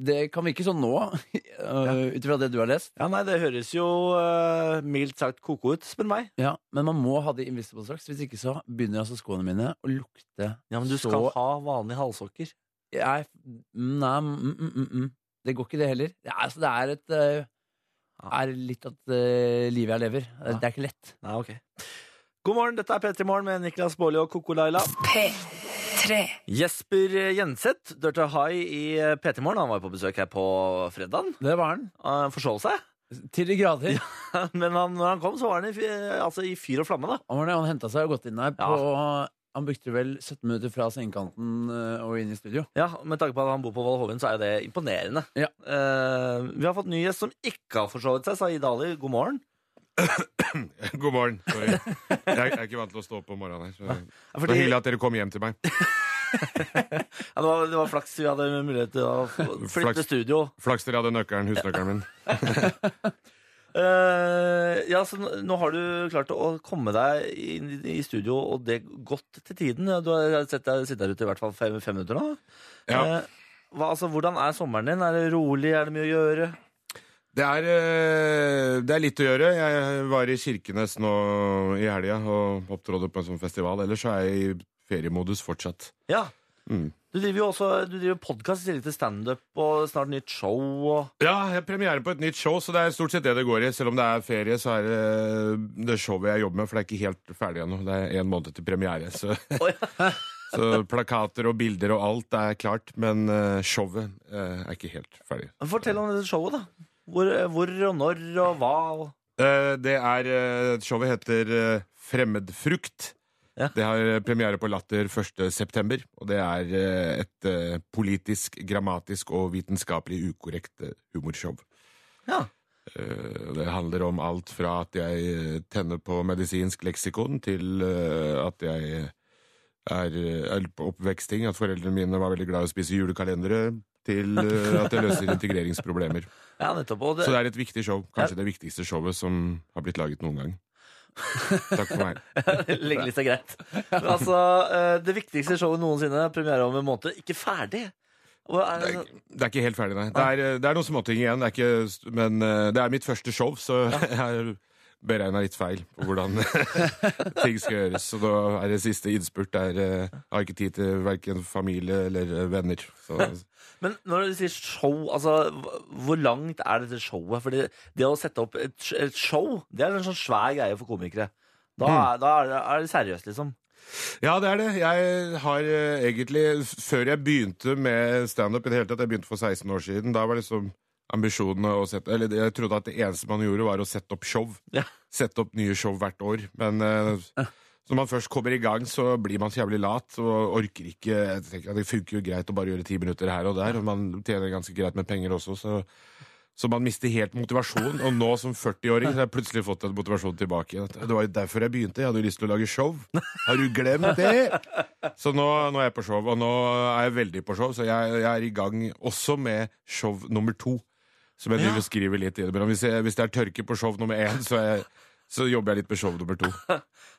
[SPEAKER 3] Det kan virke sånn nå, uh, ut ifra det du har lest.
[SPEAKER 2] Ja, nei, det høres jo eh, mildt sagt koko ut, spør meg.
[SPEAKER 3] Ja, Men man må ha de invisible socks, hvis ikke så begynner altså skoene mine å lukte
[SPEAKER 2] Ja, men du
[SPEAKER 3] så
[SPEAKER 2] skal ha vanlige halvsokker.
[SPEAKER 3] jeg, Nei, mm, mm, mm, mm. det går ikke det heller. Det er, altså, det er et eh,
[SPEAKER 2] Ja.
[SPEAKER 3] er litt at eh, livet jeg lever. Det,
[SPEAKER 2] Ja.
[SPEAKER 3] det er ikke lett.
[SPEAKER 2] Nei, ok. God morgen, dette er P3 Morgen med Niklas Baarli og Koko Laila.
[SPEAKER 1] P3
[SPEAKER 2] Jesper Jenseth, Dirty High i P3 Morgen, han var jo på besøk her på fredagen.
[SPEAKER 3] Det var den.
[SPEAKER 2] Han forsov seg,
[SPEAKER 3] Til de grader.
[SPEAKER 2] men han, når han kom, så var han i, fy- altså, i fyr og flamme, da.
[SPEAKER 3] Han, var det, han henta seg og gått inn der på Han brukte vel 17 minutter fra sengekanten eh, og inn i studio.
[SPEAKER 2] Ja, Med tanke på at han bor på Valhovin, så er jo det imponerende.
[SPEAKER 3] Ja.
[SPEAKER 2] Eh, vi har fått ny gjest som ikke har forsovet seg, sa Idali. God morgen.
[SPEAKER 4] God morgen. Sorry. Jeg, jeg er ikke vant til å stå opp om morgenen her. Så det
[SPEAKER 2] Ja,
[SPEAKER 4] var
[SPEAKER 2] Fordi,
[SPEAKER 4] hyggelig
[SPEAKER 2] ja,
[SPEAKER 4] at dere kom hjem til meg.
[SPEAKER 2] det, var, det var flaks vi hadde mulighet til å f- flytte
[SPEAKER 4] Flaks.
[SPEAKER 2] studio.
[SPEAKER 4] Flaks dere hadde nøkkelen, husnøkkelen min.
[SPEAKER 2] Eh, ja, så n- nå har du klart å komme deg inn i, i studio, og det godt til tiden. Du har sett deg sitte her ute i hvert fall fem, fem minutter nå.
[SPEAKER 4] Ja.
[SPEAKER 2] Eh, hva, altså, hvordan er sommeren din? Er det rolig? Er det mye å gjøre?
[SPEAKER 4] Det er, eh, det er litt å gjøre. Jeg var i Kirkenes nå i helga og opptrådte på en sånn festival. Ellers så er jeg i feriemodus fortsatt.
[SPEAKER 2] Ja.
[SPEAKER 4] Mm.
[SPEAKER 2] Du driver jo også Du driver podkast i tillegg til standup og snart nytt show. og...
[SPEAKER 4] Ja, jeg har premiere på et nytt show, så det er stort sett det det går i. Selv om det er ferie, så er det det showet jeg jobber med, for det er ikke helt ferdig ennå. Det er en måned til premiere, så
[SPEAKER 2] Oi.
[SPEAKER 4] Så plakater og bilder og alt er klart, men eh, showet eh, er ikke helt ferdig.
[SPEAKER 2] Fortell om dette showet, da. Hvor, hvor og når og hva. og-
[SPEAKER 4] Eh, det er eh, Showet heter eh, Fremmedfrukt.
[SPEAKER 2] Ja.
[SPEAKER 4] Det har eh, premiere på Latter 1.9., og det er eh, et eh, politisk, grammatisk og vitenskapelig ukorrekt eh, humorshow.
[SPEAKER 2] Ja.
[SPEAKER 4] Eh, Det handler om alt fra at jeg eh, tenner på medisinsk leksikon, til eh, at jeg er, eh, er på oppveksting, at foreldrene mine var veldig glad i å spise julekalendere, til eh, at jeg løser integreringsproblemer.
[SPEAKER 2] Ja, nettopp. Og det,
[SPEAKER 4] Så det er et viktig show. Kanskje det viktigste showet som har blitt laget noen gang. Takk for meg.
[SPEAKER 2] ligger litt så greit. Men altså, eh, det viktigste showet noensinne, premiere om en måned, ikke ferdig. Og er,
[SPEAKER 4] Det er, det er ikke helt ferdig, nei. Det er, eh, det er noen småting igjen, det er ikke, st- men eh, det er mitt første show, så jeg har beregna litt feil på hvordan ting skal gjøres. Så da er det siste innspurt. Det er, eh, Jeg har ikke tid til verken familie eller eh, venner. Så
[SPEAKER 2] men når du sier show, altså hv- hvor langt er dette showet? Fordi det å sette opp et, sh- et show, det er en sånn svær greie for komikere. Da er, da er, det, er det seriøst, liksom.
[SPEAKER 4] Ja, det er det. Jeg har eh, egentlig f- Før jeg begynte med standup i det hele tatt, jeg begynte for 16 år siden, da var liksom ambisjonene å sette Eller jeg trodde at det eneste man gjorde, var å sette opp show.
[SPEAKER 2] Ja.
[SPEAKER 4] Sette opp nye show hvert år. Men eh, når man først kommer i gang, så blir man så jævlig lat og orker ikke jeg tenker at Det funker jo greit å bare gjøre ti minutter her og der, og man tjener ganske greit med penger også, så så man mister helt motivasjon, og nå som 40-åring så har jeg plutselig fått den motivasjonen tilbake. igjen. Det var jo derfor jeg begynte. Jeg hadde jo lyst til å lage show. Har du glemt det? Så nå, nå er jeg på show, og nå er jeg veldig på show, så jeg, jeg er i gang også med show nummer to. Som jeg driver og skriver litt innimellom. Hvis, jeg- hvis det er tørke på show nummer én, så, er jeg, så jobber jeg litt med show nummer to.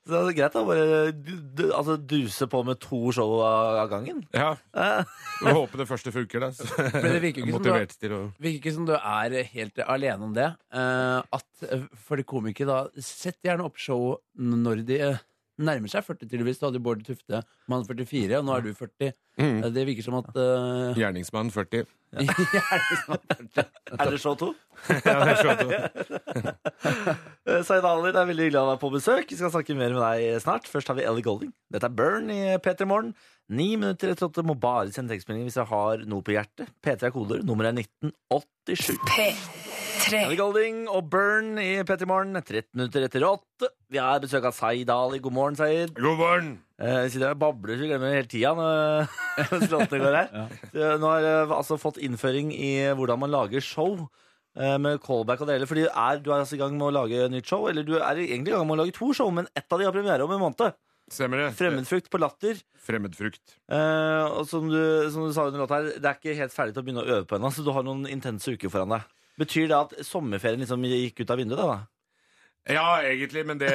[SPEAKER 2] Så det er greit å bare du, du, altså, duse på med to show av, av gangen.
[SPEAKER 4] Ja.
[SPEAKER 2] Eh,
[SPEAKER 4] Vi håper det første funker, da. Så jeg
[SPEAKER 3] Men det virker
[SPEAKER 4] er
[SPEAKER 3] ikke som du har
[SPEAKER 4] Motivert til å
[SPEAKER 3] virker ikke som du er helt alene om det. eh, at eh, for de komikere, da Sett gjerne opp show når de eh, nærmer seg 40, tydeligvis. Da hadde Bård Tufte mann 44, og nå er du 40.
[SPEAKER 2] Mm.
[SPEAKER 3] Eh, Det virker som at eh,
[SPEAKER 4] Gjerningsmann 40.
[SPEAKER 2] er det show to?
[SPEAKER 4] Ja, det skjønte du.
[SPEAKER 2] Eh, Zaid Ali, det er veldig hyggelig å være på besøk. Vi skal snakke mer med deg snart. Først har vi Ellie Golding. Dette er Burn i P3 Morgen. Ni minutter etter åtte må bare sende tekstmelding hvis jeg har noe på hjertet. P3 er koder. Nummeret er 1987.
[SPEAKER 1] P3
[SPEAKER 2] Ellie Golding og Burn i P3 Morgen. 13 minutter etter åtte. Vi har besøk av Zaid Ali. God morgen, Zaid.
[SPEAKER 4] God morgen!
[SPEAKER 2] Eh, siden jeg babler, så glemmer jeg hele tida når- mens låtene går her. Så Nå har jeg altså fått innføring i hvordan man lager show eh, med callback og det hele. Fordi er, du er altså i gang med å lage nytt show, eller du er egentlig i gang med å lage to show, men ett av de har premiere om en måned.
[SPEAKER 4] Stemmer det?
[SPEAKER 2] Fremmedfrukt på latter.
[SPEAKER 4] Fremmedfrukt.
[SPEAKER 2] Eh, og som du, som du sa under låta her, det er ikke helt ferdig til å begynne å øve på ennå, så du har noen intense uker foran deg. Betyr det at sommerferien liksom gikk ut av vinduet, da? da?
[SPEAKER 4] Ja, egentlig, men det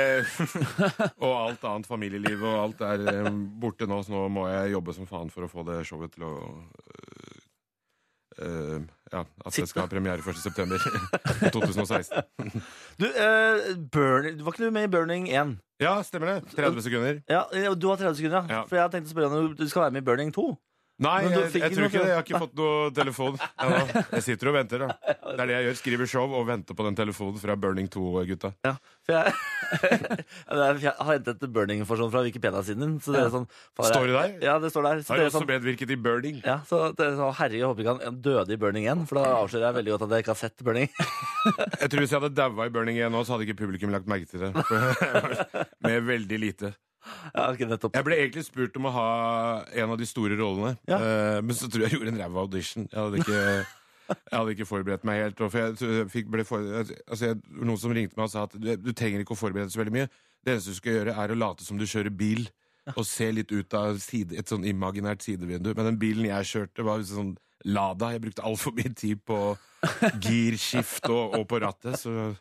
[SPEAKER 4] Og alt annet familieliv og alt er eh, borte nå, så nå må jeg jobbe som faen for å få det showet til å eh, eh, Ja, at det skal ha premiere 1.9. 2016.
[SPEAKER 2] Du, eh, burn, var ikke du med i Burning 1?
[SPEAKER 4] Ja, stemmer det. 30 sekunder.
[SPEAKER 2] Ja, eh, du har 30 sekunder, ja.
[SPEAKER 4] Ja.
[SPEAKER 2] For jeg tenkte å spørre deg om du skal være med i Burning 2.
[SPEAKER 4] Nei,
[SPEAKER 2] Men du
[SPEAKER 4] jeg,
[SPEAKER 2] fikk
[SPEAKER 4] jeg
[SPEAKER 2] ikke
[SPEAKER 4] tror
[SPEAKER 2] noe
[SPEAKER 4] ikke det. Jeg har ikke fått noe telefon. Ja, da. jeg sitter og venter, da. Det er det jeg gjør. Skriver show og venter på den telefonen fra Burning 2-gutta.
[SPEAKER 2] Ja, for jeg, jeg har hentet burning-informasjon fra Wikipedia-siden din. Så det er sånn, faen,
[SPEAKER 4] Står det
[SPEAKER 2] jeg-
[SPEAKER 4] der?
[SPEAKER 2] Ja, det står der. Så
[SPEAKER 4] Har
[SPEAKER 2] det er
[SPEAKER 4] jeg også
[SPEAKER 2] sånn,
[SPEAKER 4] medvirket i Burning.
[SPEAKER 2] ja, så det er sånn, herre, jeg håper ikke han døde i Burning 1, for da avslører jeg veldig godt at jeg ikke har sett Burning.
[SPEAKER 4] Jeg tror Hvis jeg hadde daua i Burning 1 nå, så hadde ikke publikum lagt merke til det. Med veldig lite.
[SPEAKER 2] Ja, ok, nettopp.
[SPEAKER 4] Jeg ble egentlig spurt om å ha en av de store rollene,
[SPEAKER 2] Ja.
[SPEAKER 4] eh, men så tror jeg jeg gjorde en ræva audition. Jeg hadde ikke, jeg hadde ikke forberedt meg helt. og For jeg, tror jeg fikk, ble for, altså jeg, noen som ringte meg og sa at du, du trenger ikke å forberede så veldig mye. Det eneste du skal gjøre, er å late som du kjører bil, og se litt ut av side, et sånn imaginært sidevindu. Men den bilen jeg kjørte, var sånn Lada. Jeg brukte altfor mye tid på girskift og, og på rattet. så...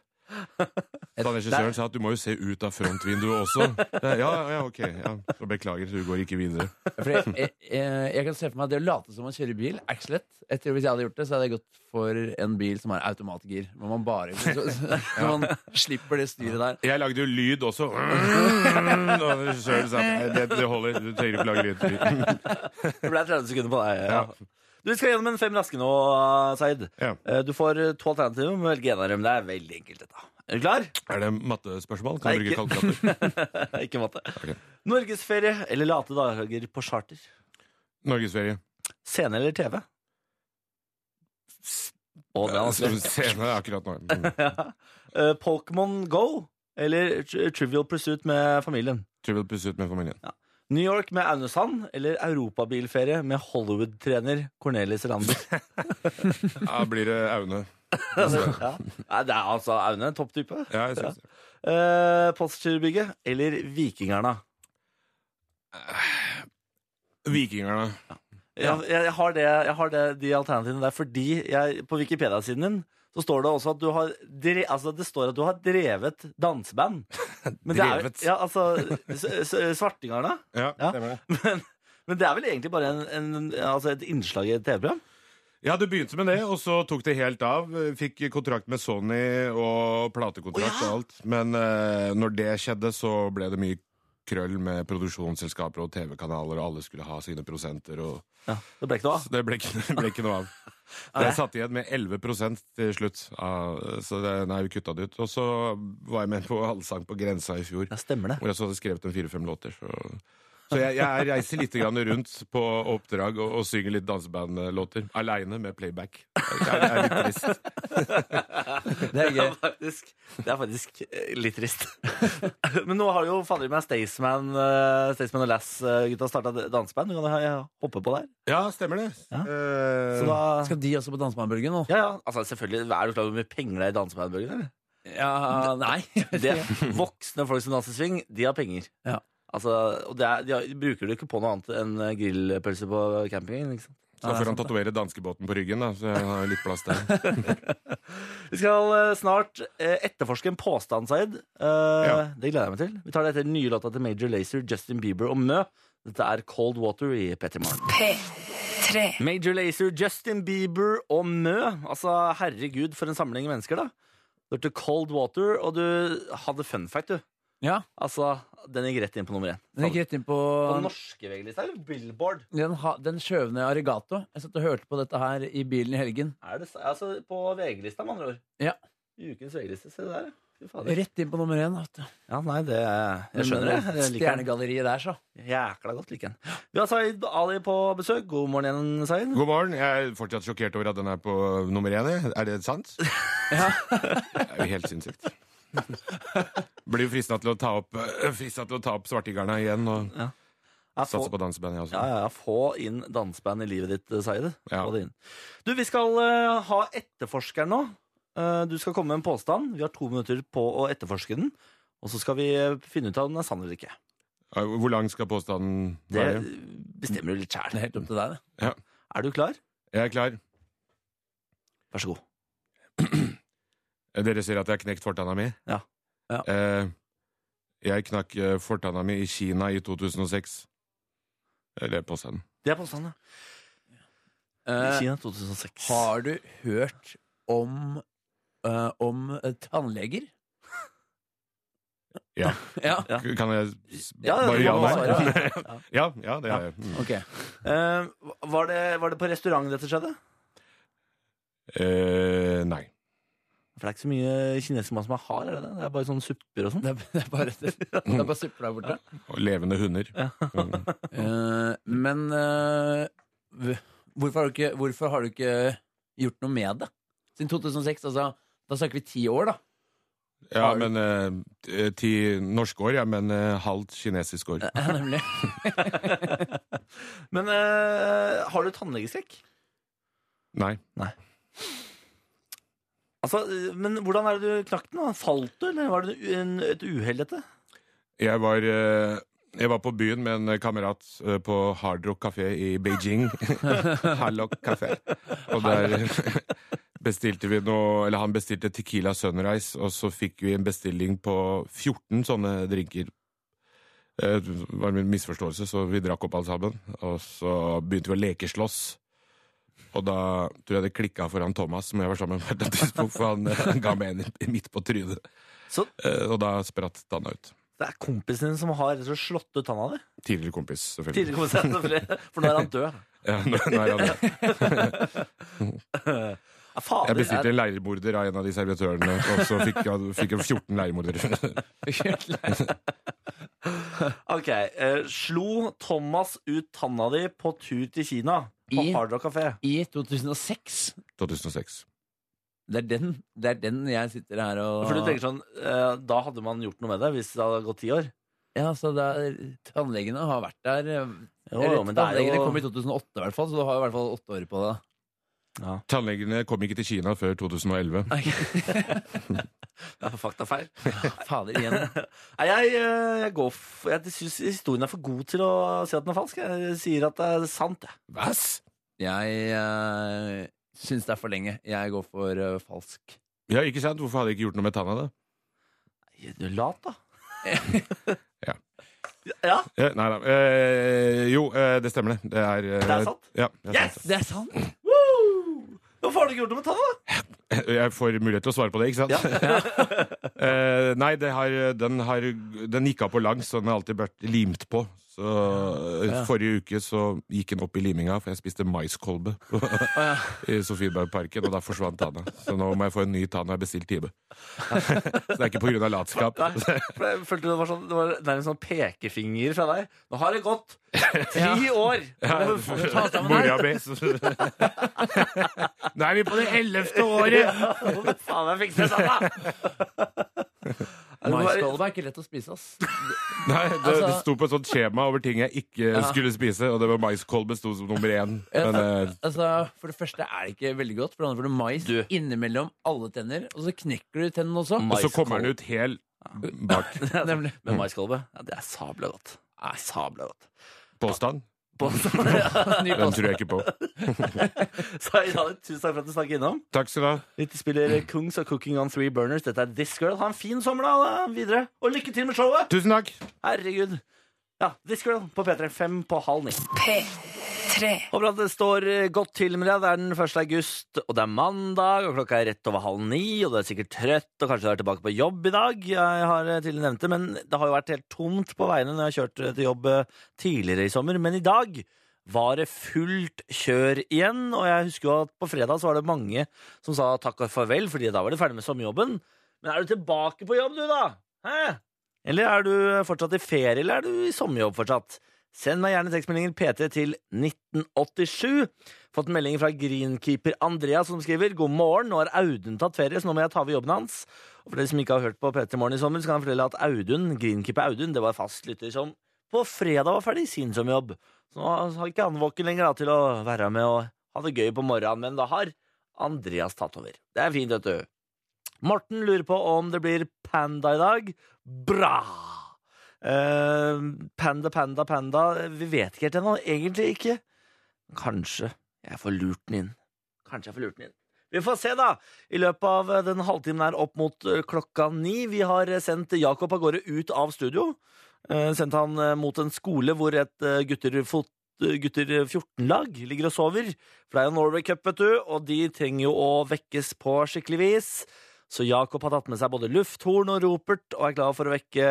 [SPEAKER 4] Da regissøren sa at du må jo se ut av frontvinduet også. Ja, ja, ok. Ja. Så beklager, du går ikke videre.
[SPEAKER 3] For jeg, jeg, eh, jeg, jeg kan se for meg at det å late som man kjører bil, er ikke så lett. Jeg tror Hvis jeg hadde gjort det, så hadde jeg gått for en bil som har automatgir. Hvor man bare så, så, så man slipper det styret der.
[SPEAKER 4] Jeg lagde jo lyd også. Og regissøren sa at det, det holder, du trenger ikke lage lyd.
[SPEAKER 2] Det ble 30 sekunder på deg. Ja.
[SPEAKER 4] Ja.
[SPEAKER 2] Du vi skal gjennom en fem raske nå, Seid.
[SPEAKER 4] Ja.
[SPEAKER 2] Eh, Du får to alternativer, du må velge en av dem. Det er veldig enkelt, dette. Er du klar?
[SPEAKER 4] Er det mattespørsmål? Kan
[SPEAKER 2] Nei,
[SPEAKER 4] du bruke
[SPEAKER 2] ikke.
[SPEAKER 4] kalkulator?
[SPEAKER 2] ikke matte.
[SPEAKER 4] Ok.
[SPEAKER 2] Norgesferie eller late dager på charter?
[SPEAKER 4] Norgesferie.
[SPEAKER 2] Scene eller TV? Å, det er vanskelig.
[SPEAKER 4] Som Scene akkurat nå. Mm.
[SPEAKER 2] Eh, Pokémon Go eller Tri- Trivial Pursuit med familien?
[SPEAKER 4] Trivial Pursuit med familien.
[SPEAKER 2] New York med Aune Sand eller europabilferie med Hollywood-trener Cornelis Rander?
[SPEAKER 4] Da blir det Aune.
[SPEAKER 2] ja. Nei, det er altså Aune, topptype.
[SPEAKER 4] Ja, jeg synes det.
[SPEAKER 2] Uh, Postgirobygget eller Vikingerna?
[SPEAKER 4] Vikingerne.
[SPEAKER 2] Jeg, jeg, har det, jeg har det, de alternativene der fordi jeg, på Wikipedia-siden din så står det også at du har dre, altså det står at du har drevet danseband. Men det er-
[SPEAKER 4] Drevet.
[SPEAKER 2] Ja, altså s- s- Svartingarna.
[SPEAKER 4] Ja,
[SPEAKER 2] Ja.
[SPEAKER 4] stemmer det.
[SPEAKER 2] Men, men det er vel egentlig bare en, en, altså et innslag i et TV-program?
[SPEAKER 4] Ja, det begynte med det, og så tok det helt av. Fikk kontrakt med Sony og platekontrakt
[SPEAKER 2] Å, ja.
[SPEAKER 4] og alt. Men eh, når det skjedde, så ble det mye krøll med produksjonsselskaper og TV-kanaler, og alle skulle ha sine prosenter, og
[SPEAKER 2] Ja, det ble ikke noe av.
[SPEAKER 4] så det ble ikke, ble ikke noe av.
[SPEAKER 2] Nei.
[SPEAKER 4] Jeg satt igjen med 11 til slutt, av- så det, nei, vi kutta det ut. Og så var jeg med på Allsang på grensa i fjor,
[SPEAKER 2] Ja, stemmer det.
[SPEAKER 4] hvor jeg så hadde skrevet en fire-fem låter. Så, så jeg, jeg reiser litt grann rundt på oppdrag og, og synger litt dansebandlåter. Aleine med playback. Det er, det er litt trist.
[SPEAKER 3] Det er
[SPEAKER 2] Det
[SPEAKER 3] gøy.
[SPEAKER 2] er faktisk, det er faktisk eh, litt trist. Men nå har jo fader meg Staysman eh, Staysman og Lass-gutta starta danseband. Du kan ha- ja, hoppe på der.
[SPEAKER 4] Ja, stemmer det.
[SPEAKER 2] Ja.
[SPEAKER 4] Eh,
[SPEAKER 2] Så da
[SPEAKER 3] Skal de også på Dansemannbølgen nå?
[SPEAKER 2] ja, ja, altså selvfølgelig, Er du klar over hvor mye penger det er i dansebandbølgen? eller?
[SPEAKER 3] Ja, nei.
[SPEAKER 2] Det- Voksne folk som danser swing, de har penger.
[SPEAKER 3] Ja.
[SPEAKER 2] Altså, og det er, de har, bruker du ikke på noe annet enn grillpølse på eh, campingen. Ikke sant?
[SPEAKER 4] Så da
[SPEAKER 3] det er
[SPEAKER 4] får han
[SPEAKER 3] sant,
[SPEAKER 4] tatovere danskebåten på ryggen, da, så jeg har litt plass der.
[SPEAKER 2] Vi skal eh, snart eh, etterforske en påstand, Zaid. Eh, Det gleder jeg meg til. Vi tar det etter den nye låta til Major Lazer, Justin Bieber og Mø. Dette er Cold Water i Petter Morgen.
[SPEAKER 1] P3
[SPEAKER 2] Major Lazer, Justin Bieber og Mø. Altså, herregud, for en samling mennesker, da. Du hørte Cold Water, og du hadde fun fact, du.
[SPEAKER 3] Ja,
[SPEAKER 2] Altså, den gikk rett inn på nummer én.
[SPEAKER 3] Den gikk rett inn på
[SPEAKER 2] På norske VG-lista, eller Billboard?
[SPEAKER 3] den, ha- den skjøvne Arigato. Jeg satt og hørte på dette her i bilen i helgen.
[SPEAKER 2] Er det, s- altså, på VG-lista, med andre ord.
[SPEAKER 3] Ja.
[SPEAKER 2] Ukens VG-liste. Se det der, ja. Fy fader.
[SPEAKER 3] Rett inn på nummer én. vet du.
[SPEAKER 2] Ja, nei, det Jeg skjønner det. Jeg liker den.
[SPEAKER 3] Stjernegalleriet der, så.
[SPEAKER 2] Jækla godt liker den. Vi har Zaid Ali på besøk. God morgen igjen, Zaid.
[SPEAKER 4] God morgen. Jeg er fortsatt sjokkert over at den er på nummer én. jeg. Er det sant?
[SPEAKER 3] Ja.
[SPEAKER 4] Det er jo helt sinnssykt. Blir jo frista til å ta opp, øh, fristet til å ta opp Svartigarna igjen og
[SPEAKER 2] Ja,
[SPEAKER 4] satse
[SPEAKER 2] få,
[SPEAKER 4] på danseband, jeg
[SPEAKER 2] ja,
[SPEAKER 4] også.
[SPEAKER 2] ja, ja, få inn danseband i livet ditt, Zaid.
[SPEAKER 4] Ja.
[SPEAKER 2] Få det inn. Du, vi skal eh, ha etterforskeren nå. Eh, du skal komme med en påstand. Vi har to minutter på å etterforske den. Og så skal vi eh, finne ut av om den er sann eller ikke.
[SPEAKER 4] Hvor lang skal påstanden
[SPEAKER 2] Det
[SPEAKER 4] være?
[SPEAKER 2] bestemmer du litt
[SPEAKER 3] Det
[SPEAKER 2] sjæl.
[SPEAKER 3] er helt opp til deg, det.
[SPEAKER 2] Er du klar?
[SPEAKER 4] Jeg er klar.
[SPEAKER 2] Vær så god.
[SPEAKER 4] Dere ser at jeg har knekt fortanna mi?
[SPEAKER 2] Ja.
[SPEAKER 3] Ja.
[SPEAKER 4] Eh, jeg knakk eh, fortanna mi i Kina i 2006. Eller påstanden.
[SPEAKER 2] Det er påstanden, ja.
[SPEAKER 3] Eh,
[SPEAKER 2] Kina 2006.
[SPEAKER 3] Har du hørt om eh, om eh, tannleger?
[SPEAKER 4] Ja.
[SPEAKER 3] ja.
[SPEAKER 2] Ja.
[SPEAKER 4] Kan jeg s-
[SPEAKER 2] Ja,
[SPEAKER 4] bare
[SPEAKER 2] du
[SPEAKER 4] ja,
[SPEAKER 2] må
[SPEAKER 4] nei?
[SPEAKER 2] svare. Ja.
[SPEAKER 4] Ja, ja, det har jeg. Mm.
[SPEAKER 3] Ok.
[SPEAKER 2] Eh, var, det, var det på restaurant dette skjedde?
[SPEAKER 4] Eh, nei.
[SPEAKER 2] For det er ikke så mye kinesisk mat som er hard, er det det? Det er bare sånn supper og sånn.
[SPEAKER 3] Det er, det er bare, det er bare supper der borte.
[SPEAKER 4] Og levende hunder. Mm.
[SPEAKER 3] Eh, men eh, v- hvorfor, har du ikke, hvorfor har du ikke gjort noe med det? Siden 2006, altså. Da snakker vi ti år, da.
[SPEAKER 4] Ja,
[SPEAKER 3] Har du-
[SPEAKER 4] men eh, ti norske år, ja, men eh, halvt kinesisk år.
[SPEAKER 2] Eh,
[SPEAKER 3] Ja, nemlig.
[SPEAKER 2] Men eh, har du tannlegeskrekk?
[SPEAKER 4] Nei.
[SPEAKER 2] Altså, eh, men hvordan er det du knakk den? da? Falt du, eller var det en, et uhell, dette?
[SPEAKER 4] Jeg var, eh, jeg var på byen med en kamerat eh, på Hard Rock Café i Beijing. Hard Rock Café. Og der bestilte vi noe Eller han bestilte Tequila Sunrise, og så fikk vi en bestilling på 14 sånne drinker. Eh, Det var en misforståelse, så vi drakk opp alle sammen. Og så begynte vi å lekeslåss. Og da tror jeg det klikka for han Thomas, som jeg var sammen med, på et tidspunkt, for han, eh, han ga meg en i- midt på trynet.
[SPEAKER 2] Så-
[SPEAKER 4] Eh, Og da spratt tanna ut.
[SPEAKER 2] Det er kompisen din som har rett og slett slått ut tanna di.
[SPEAKER 4] Tidligere kompis, selvfølgelig.
[SPEAKER 2] Tidligere kompisen, selvfølgelig, For nå er han død.
[SPEAKER 4] Ja, nå, nå er han det.
[SPEAKER 2] Ja, fader,
[SPEAKER 4] Jeg bestilte en leirmorder av en av de servitørene, og så fikk jeg, fikk jeg 14 leirmordere.
[SPEAKER 2] Ok, eh, Slo Thomas ut tanna di på tur til Kina? På
[SPEAKER 3] I-
[SPEAKER 2] Hard Rock Café?
[SPEAKER 3] I 2006.
[SPEAKER 4] 2006.
[SPEAKER 3] Det er den, det er den jeg sitter her og
[SPEAKER 2] For du tenker sånn, eh, Da hadde man gjort noe med det hvis det hadde gått ti år.
[SPEAKER 3] Ja, så det er, Tannlegene har vært der. eh,
[SPEAKER 2] Jo,
[SPEAKER 3] eller
[SPEAKER 2] jo, men det er
[SPEAKER 3] tannlegene
[SPEAKER 2] jo-
[SPEAKER 3] kom i 2008, i hvert fall, så du har i hvert fall åtte år på deg.
[SPEAKER 4] Tannlegene kom ikke til Kina før 2011.
[SPEAKER 2] Ja, Faktafeil.
[SPEAKER 3] Fader, igjen.
[SPEAKER 2] Nei, jeg, eh, jeg, går f- jeg syns historien er for god til å si at den er falsk. Jeg sier at det er sant. jeg.
[SPEAKER 4] Vass?
[SPEAKER 3] Jeg uh, syns det er for lenge. Jeg går for eh, falsk.
[SPEAKER 4] Ja, ikke sant? Hvorfor hadde jeg ikke gjort noe med tanna, da?
[SPEAKER 2] Nei, Du er lat, da.
[SPEAKER 4] Ja.
[SPEAKER 2] ja.
[SPEAKER 4] Ja, nei da. Eh, jo, eh, det stemmer, det. Det er, eh,
[SPEAKER 2] Det er sant?
[SPEAKER 4] Ja, det er
[SPEAKER 2] Yes!
[SPEAKER 4] sant.
[SPEAKER 3] Det er sant!
[SPEAKER 2] Woo! Hvorfor har du ikke gjort noe med tanna?
[SPEAKER 4] Jeg får mulighet til å svare på det, ikke sant? eh, nei, det har, den, har, den gikk av på langs, så den har alltid vært limt på. Så eh, Forrige uke så gikk den opp i liminga, for jeg spiste maiskolbe i Sofienbergparken, og da forsvant tanna. Så nå må jeg få en ny tann, og jeg har bestilt time. så det er ikke på grunn av latskap.
[SPEAKER 2] Nei, for jeg følte det var, sånn, det var nærmest sånn pekefinger fra deg. Nå har det gått ti år! Nå må du ta sammen her.
[SPEAKER 4] Mora mi. Nå er vi på det ellevte året!
[SPEAKER 2] Nå må du faen meg fikse tanna!
[SPEAKER 3] Maiskolbe er ikke lett å spise, ass.
[SPEAKER 4] Nei, det,
[SPEAKER 3] Altså-
[SPEAKER 4] det sto på et sånt skjema over ting jeg ikke
[SPEAKER 3] Ja.
[SPEAKER 4] skulle spise, og det var maiskolbe sto som nummer én. Men eh,
[SPEAKER 3] Altså, for det første er det ikke veldig godt. For det andre får du mais
[SPEAKER 2] Du.
[SPEAKER 3] innimellom alle tenner, og så knekker du tennene også.
[SPEAKER 2] Ma-
[SPEAKER 4] og så kommer den ut hel bak
[SPEAKER 3] Nemlig.
[SPEAKER 2] altså. Men maiskolbe, ja, det er sabla godt. Det er sabla godt.
[SPEAKER 4] påstand.
[SPEAKER 2] på
[SPEAKER 3] Ny
[SPEAKER 4] Den
[SPEAKER 3] post.
[SPEAKER 4] tror jeg ikke på.
[SPEAKER 2] Så i dag, tusen takk for at du snakket innom.
[SPEAKER 4] Takk skal du ha.
[SPEAKER 2] Vi spiller Kungs og Cooking on Three Burners. Dette er This Girl. Ha en fin sommer da, da videre. Og lykke til med showet!
[SPEAKER 4] Tusen takk.
[SPEAKER 2] Herregud. Ja, This Girl på P3 fem på halv ni.
[SPEAKER 1] P3
[SPEAKER 2] Håper at det står eh, godt til med deg. Det er den 1. august, og det er mandag, og klokka er rett over halv ni, og du er sikkert trøtt, og kanskje du er tilbake på jobb i dag. Jeg har eh, tidligere nevnt det, men det har jo vært helt tomt på veiene når jeg har kjørt eh, til jobb eh, tidligere i sommer. Men i dag var det fullt kjør igjen, og jeg husker jo at på fredag så var det mange som sa takk og farvel, fordi da var de ferdig med sommerjobben. Men er du tilbake på jobb, du, da? Hæ? Eller er du fortsatt i ferie, eller er du i sommerjobb fortsatt? Send meg gjerne tekstmeldingen PT til 1987. Fått en melding fra greenkeeper Andreas som skriver God morgen, nå har Audun tatt ferie, så nå må jeg ta over jobben hans. Og for dere som ikke har hørt på PT Morgen i sommer, så kan jeg fortelle at Audun, greenkeeper Audun, det var fastlytter som på fredag var ferdig sin sommerjobb. Så nå har ikke han våken lenger da, til å være med og ha det gøy på morgenen, men da har Andreas tatt over. Det er fint, vet du. Morten lurer på om det blir panda i dag. Bra! Eh, panda, panda, panda. Vi vet ikke helt ennå. Egentlig ikke. Kanskje jeg får lurt den inn. Kanskje jeg får lurt den inn. Vi får se, da! I løpet av eh, den halvtimen her opp mot eh, klokka ni. Vi har eh, sendt Jakob av gårde ut av studio. Eh, sendt han eh, mot en skole hvor et eh, gutter fot gutter 14-lag ligger og sover. For det er jo Norway Cup, vet du, og de trenger jo å vekkes på skikkelig vis. Så Jakob har tatt med seg både lufthorn og ropert og er klar for å vekke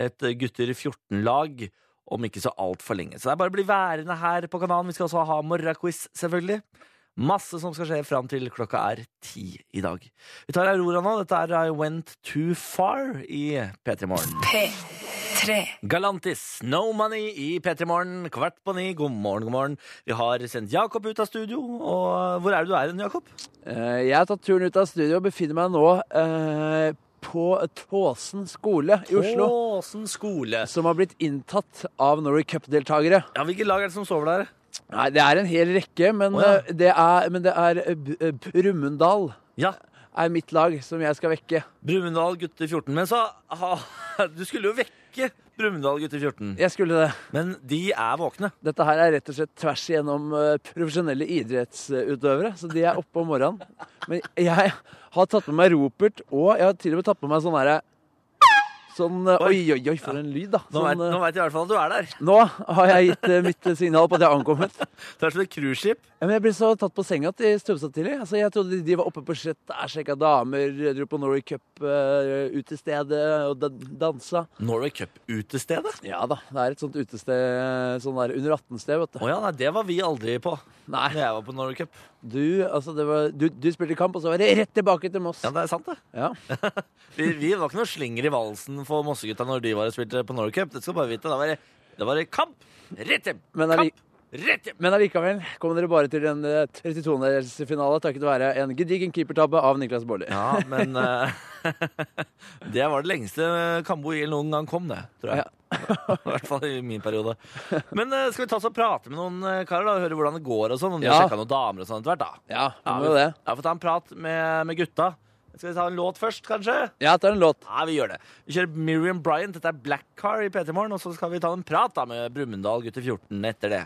[SPEAKER 2] et gutter 14-lag om ikke så altfor lenge. Så det er bare å bli værende her på kanalen. Vi skal også ha morgenquiz, selvfølgelig. Masse som skal skje fram til klokka er ti i dag. Vi tar Aurora nå. Dette er I Went Too Far i P3 Morgen.
[SPEAKER 1] P3
[SPEAKER 2] Galantis, No Money i P3 Morgen, kvart på ni. God morgen, god morgen. Vi har sendt Jakob ut av studio. Og hvor er det du er hen, Jakob?
[SPEAKER 3] Eh, Jeg har tatt turen ut av studio og befinner meg nå eh, på Tåsen skole i Oslo.
[SPEAKER 2] Åsen skole.
[SPEAKER 3] Som har blitt inntatt av Norway Cup-deltakere.
[SPEAKER 2] Ja, Hvilket lag er det som sover der?
[SPEAKER 3] Nei, det er en hel rekke, men,
[SPEAKER 2] Å, ja.
[SPEAKER 3] eh, det, er, men det er eh, B- eh, Brumunddal
[SPEAKER 2] Ja,
[SPEAKER 3] er mitt lag som jeg skal vekke.
[SPEAKER 2] Brumunddal gutter 14. Men så ha, Du skulle jo vekke Brumunddal gutter 14.
[SPEAKER 3] Jeg skulle det.
[SPEAKER 2] Men de er våkne.
[SPEAKER 3] Dette her er rett og slett tvers igjennom eh, profesjonelle idrettsutøvere, så de er oppe om morgenen. Men jeg har tatt med meg ropert, og jeg har til og med tatt med meg sånn herre Sånn eh, Oi, oi, oi, for en lyd, da.
[SPEAKER 2] Nå vet-
[SPEAKER 3] Sånn, eh,
[SPEAKER 2] nå vet de i hvert fall at du er der.
[SPEAKER 3] nå har jeg gitt eh, mitt signal på at jeg har ankommet.
[SPEAKER 2] Du er som et cruiseskip.
[SPEAKER 3] Ja, Men jeg ble så tatt på senga til Støvstad tidlig. Altså, jeg trodde de var oppe på sjett, der sjekka damer, dro på Norway Cup eh, utestedet og da dansa.
[SPEAKER 2] Norway Cup-utestedet?
[SPEAKER 3] Ja da, det er et sånt utested, sånn der under 18-sted, vet du.
[SPEAKER 2] Å ja, nei, det var vi aldri på
[SPEAKER 3] Nei,
[SPEAKER 2] da jeg var på Norway Cup.
[SPEAKER 3] du, altså, det var, du, du spilte kamp, og så var det rett tilbake til Moss.
[SPEAKER 2] Ja, det er sant, det.
[SPEAKER 3] Ja.
[SPEAKER 2] Vi, vi var ikke noe slinger i valsen for Mossegutta når de var og spilte på Norway Cup. Det skal du bare vite. Da var det, da var det kamp! Rett hjem!
[SPEAKER 3] Men alli-
[SPEAKER 2] Kamp! Rett hjem!
[SPEAKER 3] Men allikevel kom dere bare til en 32-delsfinale takket være en gedigen keepertabbe av Niklas Baarli.
[SPEAKER 2] Ja, men eh, Det var det lengste Kambo IL noen gang kom, det. Tror jeg. I hvert fall i min periode. Men eh, skal vi ta oss og prate med noen eh, karer da, og høre hvordan det går og sånn? Om de har
[SPEAKER 3] Ja.
[SPEAKER 2] sjekka noen damer og sånn etter hvert, da.
[SPEAKER 3] Ja, det var
[SPEAKER 2] vi,
[SPEAKER 3] jo det.
[SPEAKER 2] ja, vi får ta en prat med, med gutta. Skal vi ta en låt først, kanskje?
[SPEAKER 3] Ja, det er en låt.
[SPEAKER 2] Ja, vi gjør det. Vi kjører Miriam Bryant. Dette er Black Car i P3 Morgen, og så skal vi ta en prat da med Brumunddal gutter 14 etter det.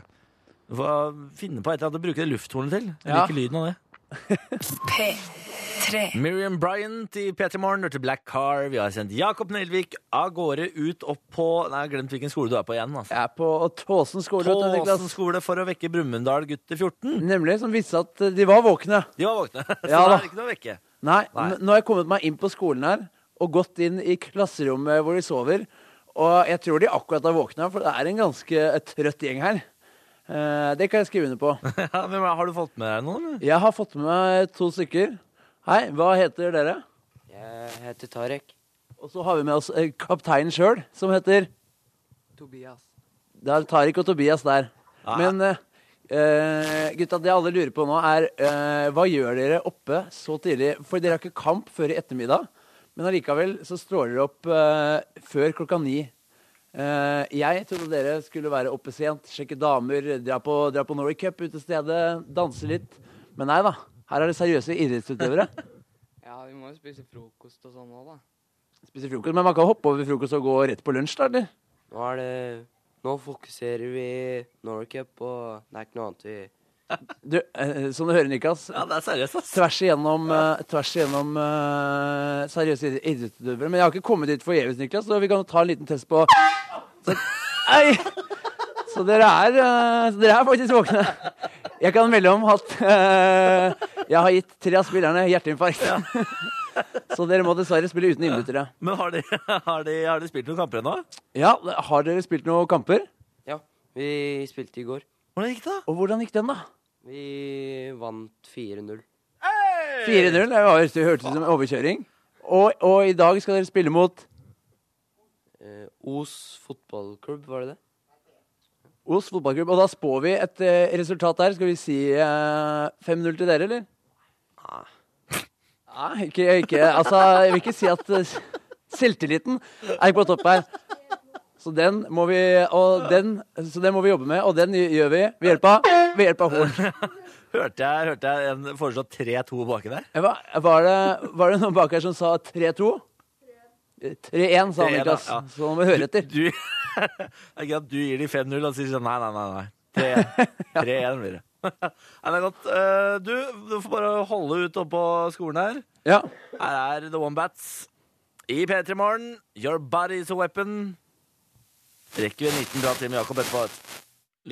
[SPEAKER 2] Du får finne på et eller annet å bruke det lufthornet til. Jeg
[SPEAKER 3] Ja.
[SPEAKER 2] liker lyden av det.
[SPEAKER 1] P3
[SPEAKER 2] Miriam Bryant i P3 Morgen, hørte Black Car. Vi har sendt Jakob Nelvik av gårde ut opp på Nei, jeg har glemt hvilken skole du er på igjen. altså.
[SPEAKER 3] Jeg er på Tåsen skole, vet du,
[SPEAKER 2] Åsen
[SPEAKER 3] Niklas.
[SPEAKER 2] skole for å vekke Brumunddal gutter 14.
[SPEAKER 3] Nemlig, som viste at eh, de var våkne.
[SPEAKER 2] De var våkne, så
[SPEAKER 3] Ja,
[SPEAKER 2] da
[SPEAKER 3] da.
[SPEAKER 2] er det ikke noe å vekke.
[SPEAKER 3] Nei,
[SPEAKER 2] Nei.
[SPEAKER 3] n- nå har jeg kommet meg inn på skolen her og gått inn i klasserommet hvor de sover. Og jeg tror de akkurat har våkna, for det er en ganske eh, trøtt gjeng her. Eh, det kan jeg skrive under på.
[SPEAKER 2] Ja, men Har du fått med deg noen? eller?
[SPEAKER 3] Jeg har fått med meg to stykker. Hei, hva heter dere?
[SPEAKER 5] Jeg heter Tarek.
[SPEAKER 3] Og så har vi med oss eh, kapteinen sjøl, som heter
[SPEAKER 5] Tobias.
[SPEAKER 3] Det er Tariq og Tobias der. Men eh, eh, gutta, det alle lurer på nå, er eh, hva gjør dere oppe så tidlig? For dere har ikke kamp før i ettermiddag, men allikevel så stråler dere opp eh, før klokka ni. Eh, jeg trodde dere skulle være oppe sent, sjekke damer, dra på, dra på Norway Cup utestedet, danse litt. Men nei da. Her er det seriøse idrettsutøvere.
[SPEAKER 5] Ja, vi må jo spise frokost og sånn òg, da.
[SPEAKER 3] Spiser frokost, Men man kan hoppe over frokost og gå rett på lunsj, da? eller?
[SPEAKER 5] Nå er det Nå fokuserer vi Norcup, og det er ikke noe annet vi
[SPEAKER 3] Du, eh, som du hører, Niklas,
[SPEAKER 2] Ja, det er seriøst, ass.
[SPEAKER 3] tvers igjennom, eh, tvers igjennom eh, seriøse idrett- idrettsutøvere. Men jeg har ikke kommet dit forgjeves, Niklas, så vi kan jo ta en liten test på så, Ei! Så dere er, eh, så dere er faktisk våkne. Jeg kan melde om at eh, jeg har gitt tre av spillerne hjerteinfarkt. Så dere må dessverre spille uten innbyttere.
[SPEAKER 2] Men har de, har, de, har de spilt noen kamper ennå?
[SPEAKER 3] Ja, Har dere spilt noen kamper?
[SPEAKER 5] Ja, vi spilte i går.
[SPEAKER 2] Hvordan gikk det? da?
[SPEAKER 3] Og hvordan gikk den, da?
[SPEAKER 5] Vi vant 4-0.
[SPEAKER 3] 4-0. Det var- det hørtes ut som en overkjøring. Og, og i dag skal dere spille mot
[SPEAKER 5] Eh, Os fotballklubb, var det det?
[SPEAKER 3] Os fotballklubb. Og da spår vi et eh, resultat der. Skal vi si eh, 5-0 til dere, eller? Nei, ikke, ikke Altså, jeg vil ikke si at eh, selvtilliten er ikke på topp her. Så den må vi og den, Så den må vi jobbe med, og den gjør vi ved hjelp av Ved hjelp av horn.
[SPEAKER 2] Hørte jeg, hørte jeg en foreslå 3-2 baki der?
[SPEAKER 3] Hva- Var det, var det noen bak her som sa 3-2? 3-1, sa
[SPEAKER 2] 3-1,
[SPEAKER 3] Niklas.
[SPEAKER 2] ja.
[SPEAKER 3] Så nå må vi høre etter.
[SPEAKER 2] Du, det er ikke at du gir de 5-0 og sier sånn nei, nei, nei. nei. 3-1 3-1 blir det. Nei, det er godt. Eh, Du, du får bare holde ut oppå skolen her.
[SPEAKER 3] Ja.
[SPEAKER 2] Her er The Wombats i P3 Morgen. Your body is a weapon. Rekker vi 19 bra til med Jakob etterpå.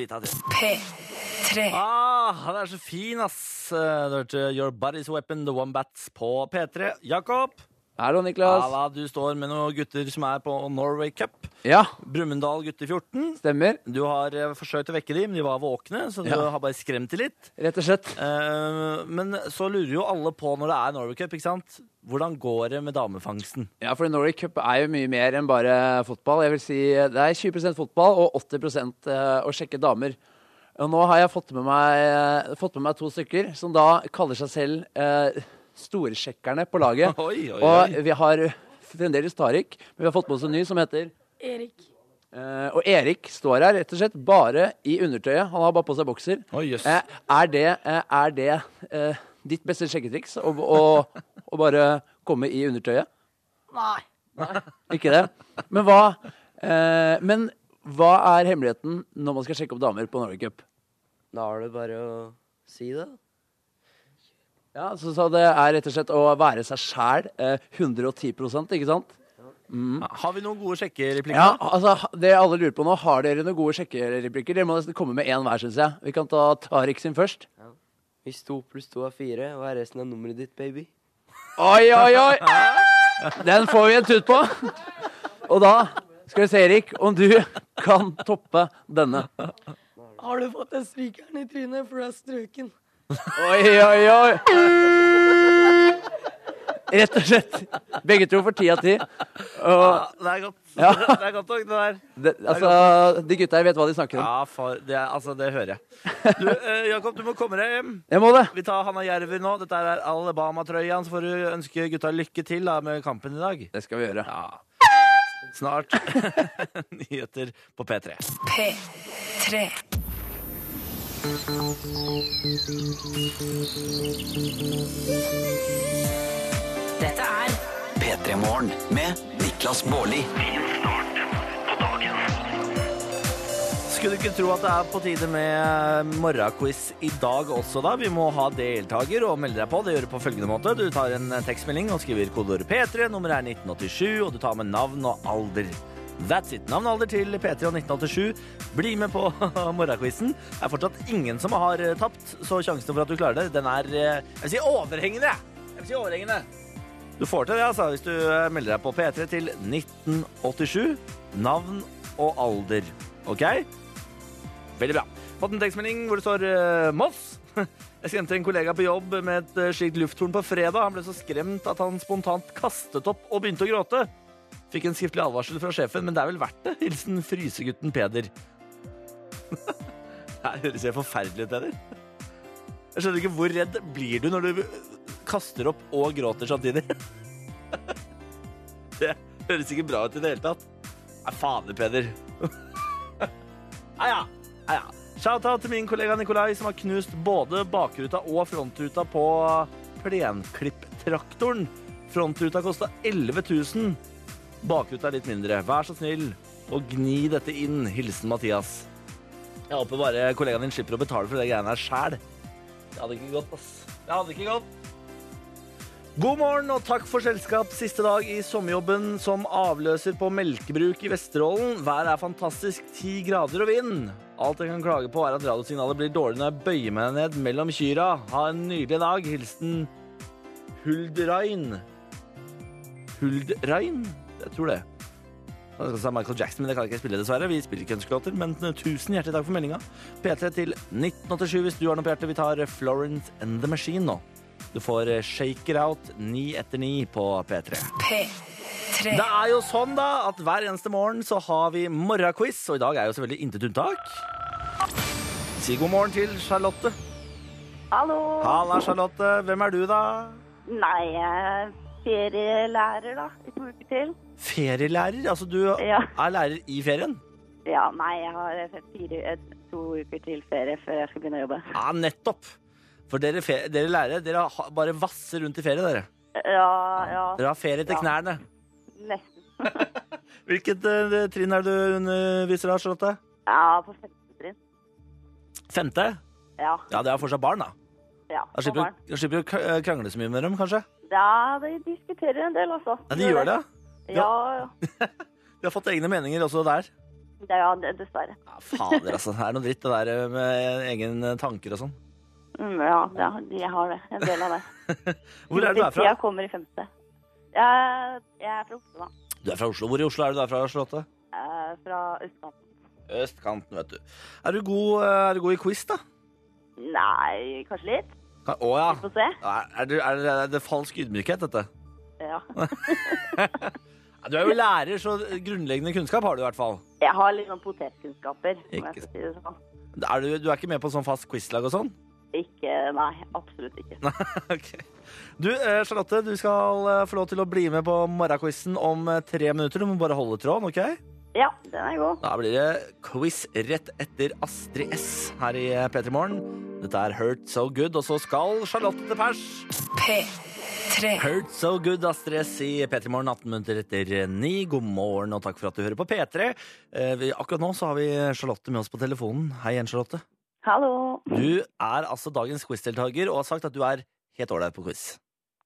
[SPEAKER 2] Lite av det.
[SPEAKER 1] P3.
[SPEAKER 2] Ah, han er så fin, ass. Eh, Du hørte Your Body's Weapon, The Wombats på P3. Jakob,
[SPEAKER 3] Hallo, Niklas.
[SPEAKER 2] Ala, du står med noen gutter som er på Norway Cup.
[SPEAKER 3] Ja,
[SPEAKER 2] Brumunddal gutter 14.
[SPEAKER 3] stemmer.
[SPEAKER 2] Du har eh, forsøkt å vekke dem, men de var våkne, så du
[SPEAKER 3] Ja.
[SPEAKER 2] har bare skremt dem litt.
[SPEAKER 3] Rett og slett.
[SPEAKER 2] Eh, men så lurer jo alle på når det er Norway Cup, ikke sant? Hvordan går det med damefangsten?
[SPEAKER 3] Ja, for Norway Cup er jo mye mer enn bare fotball. Jeg vil si Det er 20 fotball og 80 eh, å sjekke damer. Og nå har jeg fått med meg, eh, fått med meg to stykker som da kaller seg selv eh, storsjekkerne på laget.
[SPEAKER 2] Oi, oi, oi.
[SPEAKER 3] Og vi har fremdeles Tariq, men vi har fått med oss en ny som heter
[SPEAKER 6] Erik.
[SPEAKER 3] eh, Og Erik står her rett og slett bare i undertøyet. Han har bare på seg bokser.
[SPEAKER 2] Oi, jøss.
[SPEAKER 3] Eh, Er det, eh, er det eh, ditt beste sjekketriks? Å, å, å bare komme i undertøyet?
[SPEAKER 6] Nei.
[SPEAKER 3] Ikke det? Men hva, eh, men hva er hemmeligheten når man skal sjekke opp damer på Norway Cup?
[SPEAKER 5] Da er det bare å si det.
[SPEAKER 3] Ja, så, så det er rett og slett å være seg sjæl eh, 110 ikke sant?
[SPEAKER 2] Har vi noen gode
[SPEAKER 3] Mm. Ja,
[SPEAKER 2] sjekkereplikker?
[SPEAKER 3] altså Det alle lurer på nå, har dere noen gode sjekkereplikker? Dere må nesten komme med én hver, syns jeg. Vi kan ta Tariq sin først.
[SPEAKER 5] Hvis to pluss to er fire, hva er resten av nummeret ditt, baby?
[SPEAKER 3] Oi, oi, oi! Den får vi en tut på. Og da skal vi se, Erik, om du kan toppe denne.
[SPEAKER 6] Har du fått den strykeren i trynet, for du er strøken?
[SPEAKER 3] Oi, oi, oi! Rett og slett. Begge to for ti av ti. Og
[SPEAKER 2] Ja, det er godt.
[SPEAKER 3] Ja.
[SPEAKER 2] Det er godt nok, det der.
[SPEAKER 3] det, altså, de gutta her vet hva de snakker om.
[SPEAKER 2] Ja, far, det, er- altså, det hører jeg. Du, eh, Jakob, du må komme deg hjem.
[SPEAKER 3] Jeg må det.
[SPEAKER 2] Vi tar Hanna Jerver nå. Dette er Alabama-trøya. Så får du ønske gutta lykke til da, med kampen i dag.
[SPEAKER 3] Det skal vi gjøre.
[SPEAKER 2] Ja. Snart nyheter på P3.
[SPEAKER 1] P3.
[SPEAKER 7] Dette er P3 Morgen med Niklas Baarli.
[SPEAKER 2] Skulle du ikke tro at det er på tide med eh, morgenquiz i dag også, da? Vi må ha deltaker og melde deg på. Det gjør du på følgende måte. Du tar en eh, tekstmelding og skriver kodeord P3, nummeret er 1987, og du tar med navn og alder. That's it. Navn og alder til P3 og 1987. Bli med på morgenquizen. Det er fortsatt ingen som har eh, tapt, så sjansen for at du klarer det, den er eh, Jeg vil si overhengende! Jeg vil si overhengende. Du får til det, altså, hvis du eh, melder deg på P3 til 1987. Navn og alder. OK? Veldig bra. Fått en tekstmelding hvor det står eh, Moss. Jeg skremte en kollega på jobb med et eh, slikt lufthorn på fredag. Han ble så skremt at han spontant kastet opp og begynte å gråte. Fikk en skriftlig advarsel fra sjefen, men det er vel verdt det. Hilsen frysegutten Peder. Det høres helt forferdelig ut, Peder. Jeg skjønner ikke hvor redd blir du når du kaster opp og gråter samtidig. Det høres ikke bra ut i det hele tatt. Nei, fader, Peder. Ja, ja. Ja, ja. Shout-out til min kollega Nikolai, som har knust både bakruta og frontruta på plenklipptraktoren. Frontruta kosta 11 000. Bakruta er litt mindre. Vær så snill og gni dette inn. Hilsen Mathias. Jeg håper bare kollegaen din slipper å betale for de greiene her sjæl. Det hadde ikke gått, ass. Det hadde ikke gått. God morgen og takk for selskap. Siste dag i sommerjobben som avløser på melkebruk i Vesterålen. Været er fantastisk. Ti grader og vind. Alt jeg kan klage på, er at radiosignalet blir dårlig når jeg bøyer meg ned mellom kyra. Ha en nydelig dag. Hilsen Huldrein. Huldrein? Jeg tror det. Jeg skal si Michael Jackson, men det kan jeg ikke spille, dessverre. Vi spiller ikke ønskelåter, men eh, tusen hjertelig takk for meldinga. P3 til 1987 hvis du har noe på hjertet. Vi tar Florence and the Machine nå. Du får Shake It Out ni etter ni på P3.
[SPEAKER 1] P3.
[SPEAKER 2] Det er jo sånn da at hver eneste morgen så har vi morgenquiz, og i dag er jo selvfølgelig intet unntak. Si god morgen til Charlotte.
[SPEAKER 8] Hallo.
[SPEAKER 2] Halla, Charlotte. Hvem er du, da?
[SPEAKER 8] Nei, jeg er ferielærer, da. I to uker til.
[SPEAKER 2] Ferielærer? Altså, du
[SPEAKER 8] Ja.
[SPEAKER 2] er lærer i ferien?
[SPEAKER 8] Ja, nei, jeg har fire, eh, to uker til ferie før jeg skal begynne å jobbe.
[SPEAKER 2] Ja, nettopp. For dere, fe- dere lærere, dere ha- bare vasser rundt i ferie, dere.
[SPEAKER 8] Ja, ja,
[SPEAKER 2] Dere har ferie til
[SPEAKER 8] Ja.
[SPEAKER 2] knærne.
[SPEAKER 8] nesten.
[SPEAKER 2] Hvilket eh, trinn er det du underviser av, Charlotte?
[SPEAKER 8] Ja, på femte trinn.
[SPEAKER 2] Femte?
[SPEAKER 8] Ja.
[SPEAKER 2] Ja, det er fortsatt barn, da.
[SPEAKER 8] ja
[SPEAKER 2] Da
[SPEAKER 8] på
[SPEAKER 2] slipper
[SPEAKER 8] barn.
[SPEAKER 2] du- da slipper du å k- krangle så mye med dem, kanskje?
[SPEAKER 8] Ja, de diskuterer en del, altså.
[SPEAKER 2] Ja, de gjør det.
[SPEAKER 8] Ja, ja.
[SPEAKER 2] De har fått egne meninger også der.
[SPEAKER 8] Det- ja, det- dessverre.
[SPEAKER 2] Ja, fader, altså. Det er noe dritt det der eh, med egne tanker og sånn.
[SPEAKER 8] Mm, ja, ja, de har det. En del av det.
[SPEAKER 2] Hvor er det du er fra?
[SPEAKER 8] Jeg kommer i femte. Jeg, jeg er fra Oslo, da.
[SPEAKER 2] Du er fra Oslo. Hvor i Oslo er du da fra, Charlotte?
[SPEAKER 8] Jeg er fra østkanten.
[SPEAKER 2] Østkanten, vet du. Er du god, eh, er du god i quiz, da?
[SPEAKER 8] Nei, kanskje litt.
[SPEAKER 2] Kan- Å ja.
[SPEAKER 8] Få se.
[SPEAKER 2] Er, er, du, er, det, er det falsk ydmykhet, dette?
[SPEAKER 8] Ja.
[SPEAKER 2] Ja, Du er jo lærer, så grunnleggende kunnskap har du i hvert fall.
[SPEAKER 8] Jeg har litt sånn potetkunnskaper, om
[SPEAKER 2] Ikke
[SPEAKER 8] jeg skal si det sånn.
[SPEAKER 2] Er du, du er ikke med på sånn fast quizlag og sånn?
[SPEAKER 8] Ikke, nei, absolutt ikke.
[SPEAKER 2] Ok. Du, eh, Charlotte, du skal eh, få lov til å bli med på morgenquizen om eh, tre minutter. Du må bare holde tråden, OK?
[SPEAKER 8] Ja, den er god.
[SPEAKER 2] Da blir det quiz rett etter Astrid S her i eh, P3 Morgen. Dette er Hurt So Good, og så skal Charlotte til pers.
[SPEAKER 1] P3.
[SPEAKER 2] Hurt So Good, Astrid S i P3 Morgen, 18 minutter etter 9. God morgen, og takk for at du hører på P3. Eh, vi, akkurat nå så har vi Charlotte med oss på telefonen. Hei igjen, Charlotte.
[SPEAKER 8] Hallo.
[SPEAKER 2] Du er altså dagens quizdeltaker og har sagt at du er helt ålreit på quiz.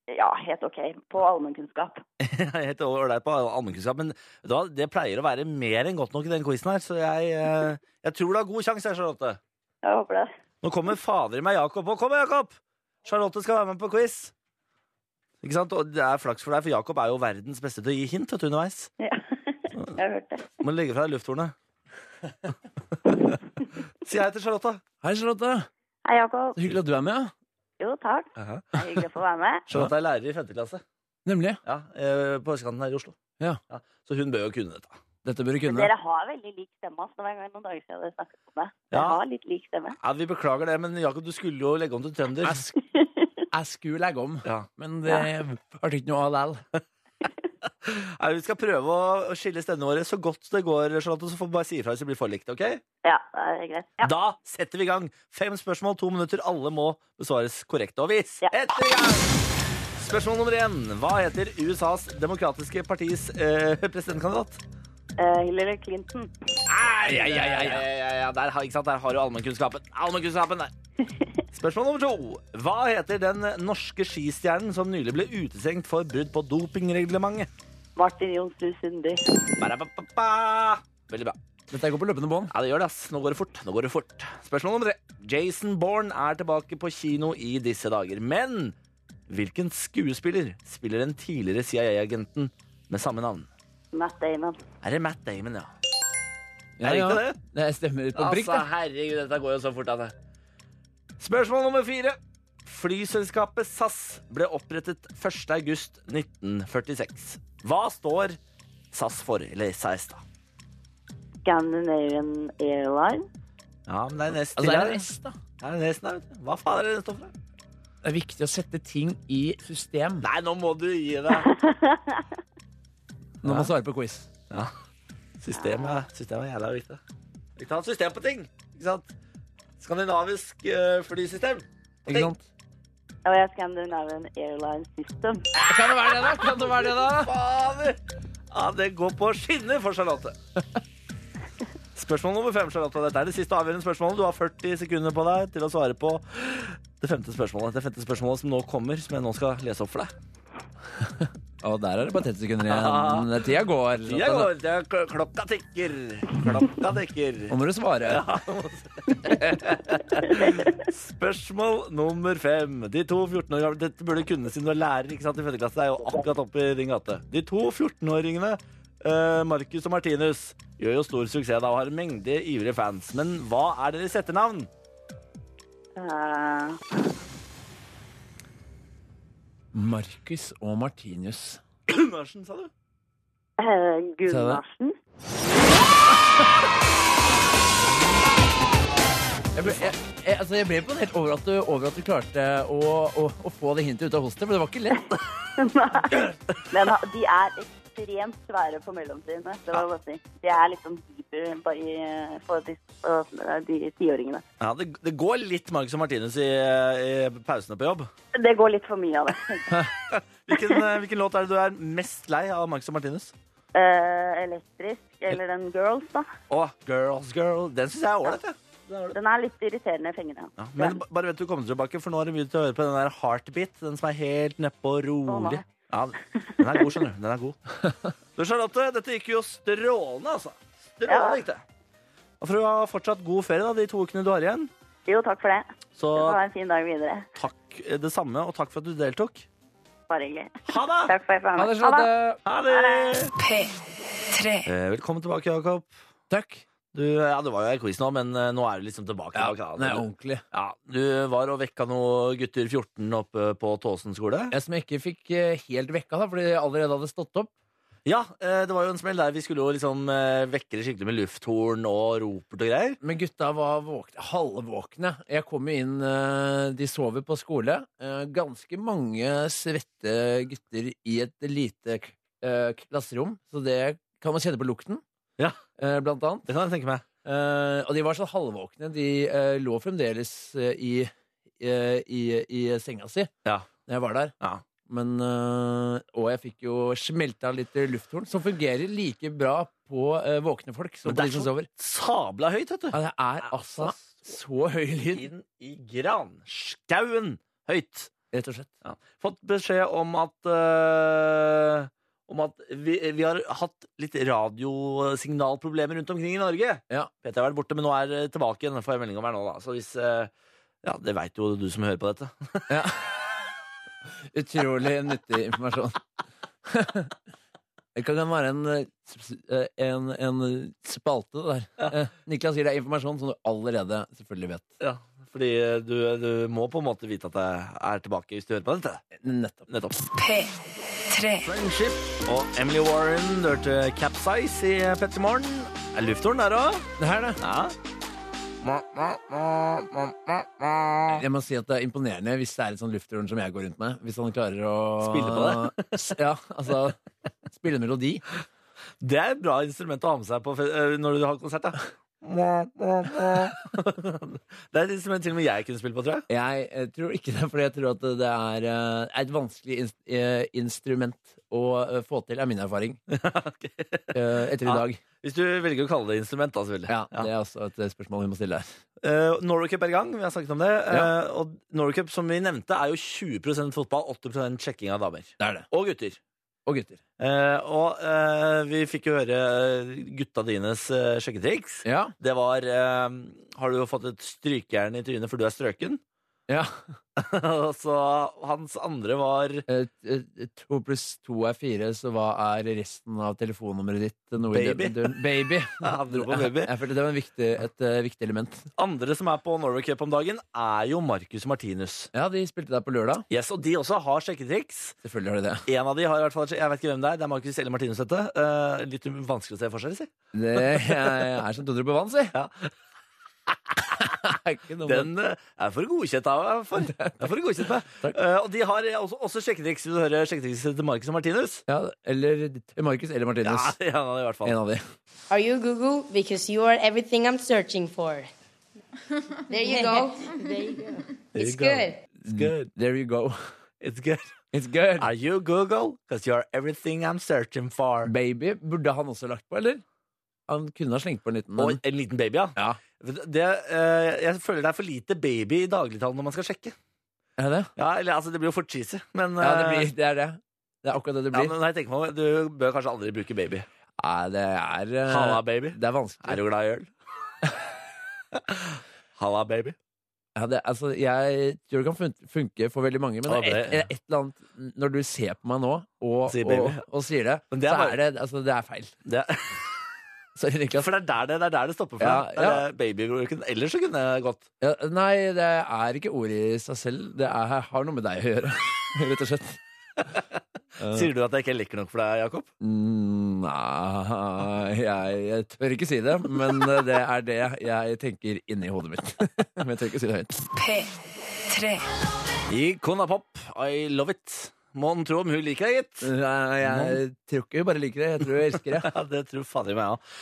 [SPEAKER 8] Ja, helt ok. På allmennkunnskap.
[SPEAKER 2] helt ålreit på allmennkunnskap, men vet du hva, det pleier å være mer enn godt nok i den quizen her, så jeg, eh, jeg tror du har god sjanse, her, Charlotte.
[SPEAKER 8] Jeg håper det.
[SPEAKER 2] Nå kommer fader i meg Jakob òg. Kom, Jakob! Charlotte skal være med på quiz. Ikke sant? Og det er flaks for deg, for Jakob er jo verdens beste til å gi hint vet du, underveis.
[SPEAKER 8] Ja. Jeg har hørt det.
[SPEAKER 2] Må legge fra deg lufthornet. si hei til Charlotte.
[SPEAKER 3] Hei, Charlotte.
[SPEAKER 8] Hei, Jakob.
[SPEAKER 3] Så hyggelig at du er med. ja.
[SPEAKER 8] Jo, takk.
[SPEAKER 2] Aha.
[SPEAKER 8] Det er hyggelig å få være med.
[SPEAKER 2] Charlotte er lærer i 5. klasse
[SPEAKER 3] Nemlig.
[SPEAKER 2] ja, eh, på østkanten her i Oslo.
[SPEAKER 3] Ja.
[SPEAKER 2] så hun bør jo kunne dette.
[SPEAKER 3] Dette bør du kunne.
[SPEAKER 8] Dere har veldig lik stemme. Altså. Det var en gang noen dager siden dere snakket om det. Dere
[SPEAKER 2] Ja.
[SPEAKER 8] har litt lik stemme.
[SPEAKER 2] Ja, vi beklager det, men Jakob, du skulle jo legge om til trønder.
[SPEAKER 3] Jeg, sk jeg skulle legge om,
[SPEAKER 2] Ja.
[SPEAKER 3] men det ble ikke noe av likevel.
[SPEAKER 2] Nei, vi skal prøve å- å skille stemmene våre så godt det går, Charlotte, så får vi bare si ifra hvis vi blir for likt, ok?
[SPEAKER 8] Ja, det er greit. Ja.
[SPEAKER 2] Da setter vi i gang. Fem spørsmål, to minutter. Alle må besvares korrekt. Og vi
[SPEAKER 8] Ja.
[SPEAKER 2] setter i gang! Spørsmål nummer én. Hva heter USAs demokratiske partis eh, presidentkandidat?
[SPEAKER 8] Eh, Hillary Clinton.
[SPEAKER 2] Ja, ja, ja, ja, ja, ja. Der, har- ikke sant? der har du allmennkunnskapen. Allmennkunnskapen der. Spørsmål nummer to. Hva heter den norske skistjernen som nylig ble utestengt for brudd på dopingreglementet?
[SPEAKER 8] Martin Jonsrud Sundby.
[SPEAKER 2] Ba-da-ba-ba-ba. Veldig bra.
[SPEAKER 3] Dette går på løpende bånd.
[SPEAKER 2] Ja, det gjør det, ass. Nå går det fort. Nå går det fort. Spørsmål nummer tre. Jason Bourne er tilbake på kino i disse dager. Men hvilken skuespiller spiller den tidligere CIA-agenten med samme navn?
[SPEAKER 8] Matt Damon.
[SPEAKER 2] Er det Matt Damon, ja?
[SPEAKER 3] Ja,
[SPEAKER 2] Er det ikke
[SPEAKER 3] ja.
[SPEAKER 2] det?
[SPEAKER 3] Det stemmer på prikk,
[SPEAKER 2] Altså,
[SPEAKER 3] det.
[SPEAKER 2] herregud, dette går jo så fort, altså. Spørsmål nummer fire. Flyselskapet SAS ble opprettet 1. august 1946. Hva står SAS for? Eller SAS, da.
[SPEAKER 8] Scandinavian Airlines.
[SPEAKER 2] Ja, men det er nesten
[SPEAKER 3] Altså, det er en S, da.
[SPEAKER 2] Det er nesten der, vet du. Hva faen er det det står for?
[SPEAKER 3] Det er viktig å sette ting i system
[SPEAKER 2] Nei, nå må du gi deg.
[SPEAKER 3] når man svarer på quiz.
[SPEAKER 2] Systemet, systemet er jævla viktig. Vi tar et system på ting. Ikke sant? Skandinavisk eh, flysystem.
[SPEAKER 3] Ikke sant?
[SPEAKER 8] Og jeg er Scandinavian Airlines System.
[SPEAKER 3] Kan det være det, da? Kan det være det da?
[SPEAKER 2] Fader! Ja, det går på skinner for Charlotte. Spørsmål nummer fem, Charlotte. Dette er det siste avgjørende spørsmålet. Du har 40 sekunder på deg til å svare på det femte spørsmålet. Det femte spørsmålet som nå kommer, som jeg nå skal lese opp for deg.
[SPEAKER 3] Og der er det bare 30 sekunder igjen. Tida går.
[SPEAKER 2] Tida går, det er kl- klokka tikker. Klokka tikker.
[SPEAKER 3] Nå må du svare.
[SPEAKER 2] Spørsmål nummer fem. De to 14 år gamle Dette burde du kunne siden du er lærer ikke sant, i femte klasse. Det er jo akkurat oppe i din gate. De to 14-åringene eh, Marcus og Martinus gjør jo stor suksess da og har en mengde ivrige fans. Men hva er deres etternavn?
[SPEAKER 8] Eh,
[SPEAKER 3] Markus og Martinus.
[SPEAKER 2] Gunnarsen, sa du?
[SPEAKER 8] eh, Gunnarsen.
[SPEAKER 3] Jeg ble, jeg, jeg, altså jeg ble imponert over at du, over at du klarte å, å, å få det hintet ut av hos deg, for det var ikke lett.
[SPEAKER 8] Men ha- de er ekstremt svære på mellomtrinnet. Det må jeg bare si. De er liksom hyper bare i- for de, for de tiåringene.
[SPEAKER 2] Ja, det, det går litt Marcus og Martinus i, i pausene på jobb.
[SPEAKER 8] Det går litt for mye av det.
[SPEAKER 2] Hvilken, eh, hvilken låt er det du er mest lei av Marcus og Martinus?
[SPEAKER 8] Eh, elektrisk, eller den Girls, da.
[SPEAKER 2] Å, Girls Girl. Den syns jeg er ålreit, jeg.
[SPEAKER 8] Den er litt irriterende i fengene.
[SPEAKER 2] Ja, men b- bare vent til du kommer tilbake, for nå har du begynt å høre på den der heartbeat. Den som er helt nedpå og rolig.
[SPEAKER 8] nei.
[SPEAKER 2] Ja, den er god, skjønner du. Den er god. Du, Charlotte, dette gikk jo strålende, altså.
[SPEAKER 8] Ja.
[SPEAKER 2] Strålende gikk det. Og for å ha fortsatt god ferie da, de to ukene du har igjen,
[SPEAKER 8] Jo, takk for det.
[SPEAKER 2] så
[SPEAKER 8] Ha en fin dag videre.
[SPEAKER 2] takk eh, det samme, og takk for at du deltok.
[SPEAKER 8] Bare hyggelig.
[SPEAKER 2] Ha det!
[SPEAKER 8] Takk for at jeg fikk
[SPEAKER 3] Ha
[SPEAKER 8] være med.
[SPEAKER 3] det, sånn Charlotte.
[SPEAKER 2] Ha det!
[SPEAKER 1] P3.
[SPEAKER 2] Eh, Velkommen tilbake, Jakob.
[SPEAKER 3] Takk.
[SPEAKER 2] Du, ja, du var jo i quiz nå, men eh, nå er du liksom tilbake.
[SPEAKER 3] Ja,
[SPEAKER 2] tilbake,
[SPEAKER 3] nei,
[SPEAKER 2] da. Du-
[SPEAKER 3] ordentlig.
[SPEAKER 2] ja, du var og vekka noen gutter 14 oppe på Tåsen skole.
[SPEAKER 3] Jeg som jeg ikke fikk eh, helt vekka, da, fordi jeg allerede hadde stått opp.
[SPEAKER 2] Ja, eh, det var jo en smell der vi skulle jo liksom eh, vekke det skikkelig med lufthorn og ropert og greier.
[SPEAKER 3] Men gutta var våkne, halvvåkne. Jeg kom jo inn, eh, de sover på skole. Eh, Ganske mange svette gutter i et lite k- eh, klasserom, så det kan man kjenne på lukten,
[SPEAKER 2] Ja.
[SPEAKER 3] eh, blant annet.
[SPEAKER 2] Det kan jeg tenke meg.
[SPEAKER 3] Eh, og de var sånn halvvåkne. De eh, lå fremdeles eh, i, eh, i, i senga si
[SPEAKER 2] Ja.
[SPEAKER 3] når jeg var der.
[SPEAKER 2] Ja.
[SPEAKER 3] Men, eh, og jeg fikk jo smelta litt lufthorn, som fungerer like bra på eh, våkne folk som
[SPEAKER 2] Men
[SPEAKER 3] på
[SPEAKER 2] det
[SPEAKER 3] de
[SPEAKER 2] er
[SPEAKER 3] som
[SPEAKER 2] så-
[SPEAKER 3] sover.
[SPEAKER 2] Sabla høyt, vet du.
[SPEAKER 3] Ja, det er altså så høy lyd,
[SPEAKER 2] Inn i granskauen høyt.
[SPEAKER 3] rett og slett.
[SPEAKER 2] Fått beskjed om at eh, om at vi, vi har hatt litt radiosignalproblemer rundt omkring i Norge.
[SPEAKER 3] Ja.
[SPEAKER 2] PT har vært borte, men nå er det tilbake igjen. Det får jeg melding om her nå, da. Så hvis eh, Ja, det veit jo du som hører på dette.
[SPEAKER 3] Utrolig nyttig informasjon. Det kan være en, eh, en, en spalte der. Eh, Niklas sier det er informasjon som du allerede selvfølgelig vet.
[SPEAKER 2] Ja, fordi eh, du, du må på en måte vite at jeg er tilbake hvis du hører på dette.
[SPEAKER 3] Nettopp.
[SPEAKER 2] Nettopp.
[SPEAKER 1] P3.
[SPEAKER 2] Friendship og Emily Warren hørte Capsize i Petter Morgen. Er Lufthorn der òg?
[SPEAKER 3] Det her, da.
[SPEAKER 2] Ja.
[SPEAKER 3] Jeg må si at det er imponerende hvis det er et sånn lufthorn som jeg går rundt med. Hvis han klarer å
[SPEAKER 2] Spille på
[SPEAKER 3] det? ja, altså Spille melodi.
[SPEAKER 2] Det er et bra instrument å ha med seg på fe- eh, når du har konsert. Ja. Det er et instrument til og med jeg kunne spille på, tror jeg.
[SPEAKER 3] Jeg eh, tror ikke det, for jeg tror at det er eh, et vanskelig ins eh, instrument å eh, få til, er min erfaring. Eh, Etter i
[SPEAKER 2] Ja.
[SPEAKER 3] dag.
[SPEAKER 2] Hvis du velger å kalle det instrument, da, selvfølgelig.
[SPEAKER 3] Ja, Det er også et eh, spørsmål vi må stille her.
[SPEAKER 2] Eh, Norway Cup er i gang, vi har snakket om det. Eh, og Norway Cup, som vi nevnte, er jo 20 fotball, 80 sjekking av damer.
[SPEAKER 3] Det er det.
[SPEAKER 2] Og gutter.
[SPEAKER 3] Og gutter.
[SPEAKER 2] Eh, og eh, vi fikk jo høre eh, gutta dines eh, sjekketriks.
[SPEAKER 3] Ja.
[SPEAKER 2] Det var eh, Har du fått et strykejern i trynet for du er strøken?
[SPEAKER 3] ja.
[SPEAKER 2] Og så hans andre var
[SPEAKER 3] Eh, t- eh, To pluss to er fire, så hva er resten av telefonnummeret ditt? eh, Noe i
[SPEAKER 2] Baby.
[SPEAKER 3] den duren. Baby.
[SPEAKER 2] Han dro på baby.
[SPEAKER 3] Jeg følte det var en viktig, et eh, viktig element.
[SPEAKER 2] Andre som er på Norway Cup om dagen, er jo Marcus Martinus.
[SPEAKER 3] Ja, de spilte der på lørdag.
[SPEAKER 2] Yes, Og de også har sjekketriks.
[SPEAKER 3] Selvfølgelig har de det.
[SPEAKER 2] En av de har i hvert fall Jeg vet ikke hvem det er. Det er Marcus eller Martinus, dette. Eh, litt vanskelig å se forskjell, si.
[SPEAKER 3] Det er som todder på vann, si.
[SPEAKER 2] Ja.
[SPEAKER 3] Det er ikke noe med-
[SPEAKER 2] Den eh, er for godkjent av meg. For, er for godkjent meg.
[SPEAKER 3] Takk.
[SPEAKER 2] Eh, og de har eh, også, også sjekketriks. Vil du høre sjekketrikset til Marcus og Martinus?
[SPEAKER 3] ja, Eller Markus eller
[SPEAKER 2] Ja,
[SPEAKER 3] Martinus.
[SPEAKER 2] en av de i hvert fall.
[SPEAKER 3] En av de.
[SPEAKER 9] Are you Google? Because you are everything I'm searching for. There you go. there you go. It's good.
[SPEAKER 2] It's good.
[SPEAKER 3] There you go.
[SPEAKER 2] It's good.
[SPEAKER 3] It's good.
[SPEAKER 2] Are you Google? Because you're everything I'm searching for.
[SPEAKER 3] Baby burde han også lagt på, eller? Han kunne ha slengt på en liten
[SPEAKER 2] Og
[SPEAKER 3] men
[SPEAKER 2] en liten baby, ja.
[SPEAKER 3] Ja.
[SPEAKER 2] Det, eh, jeg føler det er for lite baby i dagligtalen når man skal sjekke.
[SPEAKER 3] Er det?
[SPEAKER 2] Ja, eller altså, Det blir jo for cheesy, men
[SPEAKER 3] Ja, det,
[SPEAKER 2] eh,
[SPEAKER 3] blir, det er det. Det er akkurat det det
[SPEAKER 2] ja,
[SPEAKER 3] blir.
[SPEAKER 2] men når jeg tenker meg om, Du bør kanskje aldri bruke baby.
[SPEAKER 3] Nei, det er eh,
[SPEAKER 2] Halla, baby.
[SPEAKER 3] Det er vanskelig.
[SPEAKER 2] Er du glad i øl? Halla, baby.
[SPEAKER 3] Ja, det, altså, jeg tror det kan fun- funke for veldig mange, men
[SPEAKER 2] Ja,
[SPEAKER 3] det er
[SPEAKER 2] det-
[SPEAKER 3] et, et eller annet Når du ser på meg nå og,
[SPEAKER 2] Sier
[SPEAKER 3] og,
[SPEAKER 2] baby.
[SPEAKER 3] og sier det,
[SPEAKER 2] Men det er
[SPEAKER 3] så
[SPEAKER 2] bare-
[SPEAKER 3] er det, altså, det er feil.
[SPEAKER 2] Det,
[SPEAKER 3] Sorry, Niklas.
[SPEAKER 2] for det er der det, det, er der det stopper for
[SPEAKER 3] Ja,
[SPEAKER 2] deg. Det er Babybruken. Ellers så kunne jeg gått.
[SPEAKER 3] Ja, nei, det er ikke ordet i seg selv. Det er, har noe med deg å gjøre, rett og slett. Eh.
[SPEAKER 2] Sier du at jeg ikke er lekker nok for deg, Jakob?
[SPEAKER 3] Mm, Nei, jeg, jeg tør ikke si det, men eh, det er det jeg tenker inni hodet mitt. Men jeg tør ikke si det høyt.
[SPEAKER 1] P3.
[SPEAKER 2] Ikona Pop, I love it. Mon tro om hun liker deg, gitt.
[SPEAKER 3] Nei, Jeg tror ikke hun bare liker det, jeg tror hun elsker det.
[SPEAKER 2] Ja, det tror fader meg òg.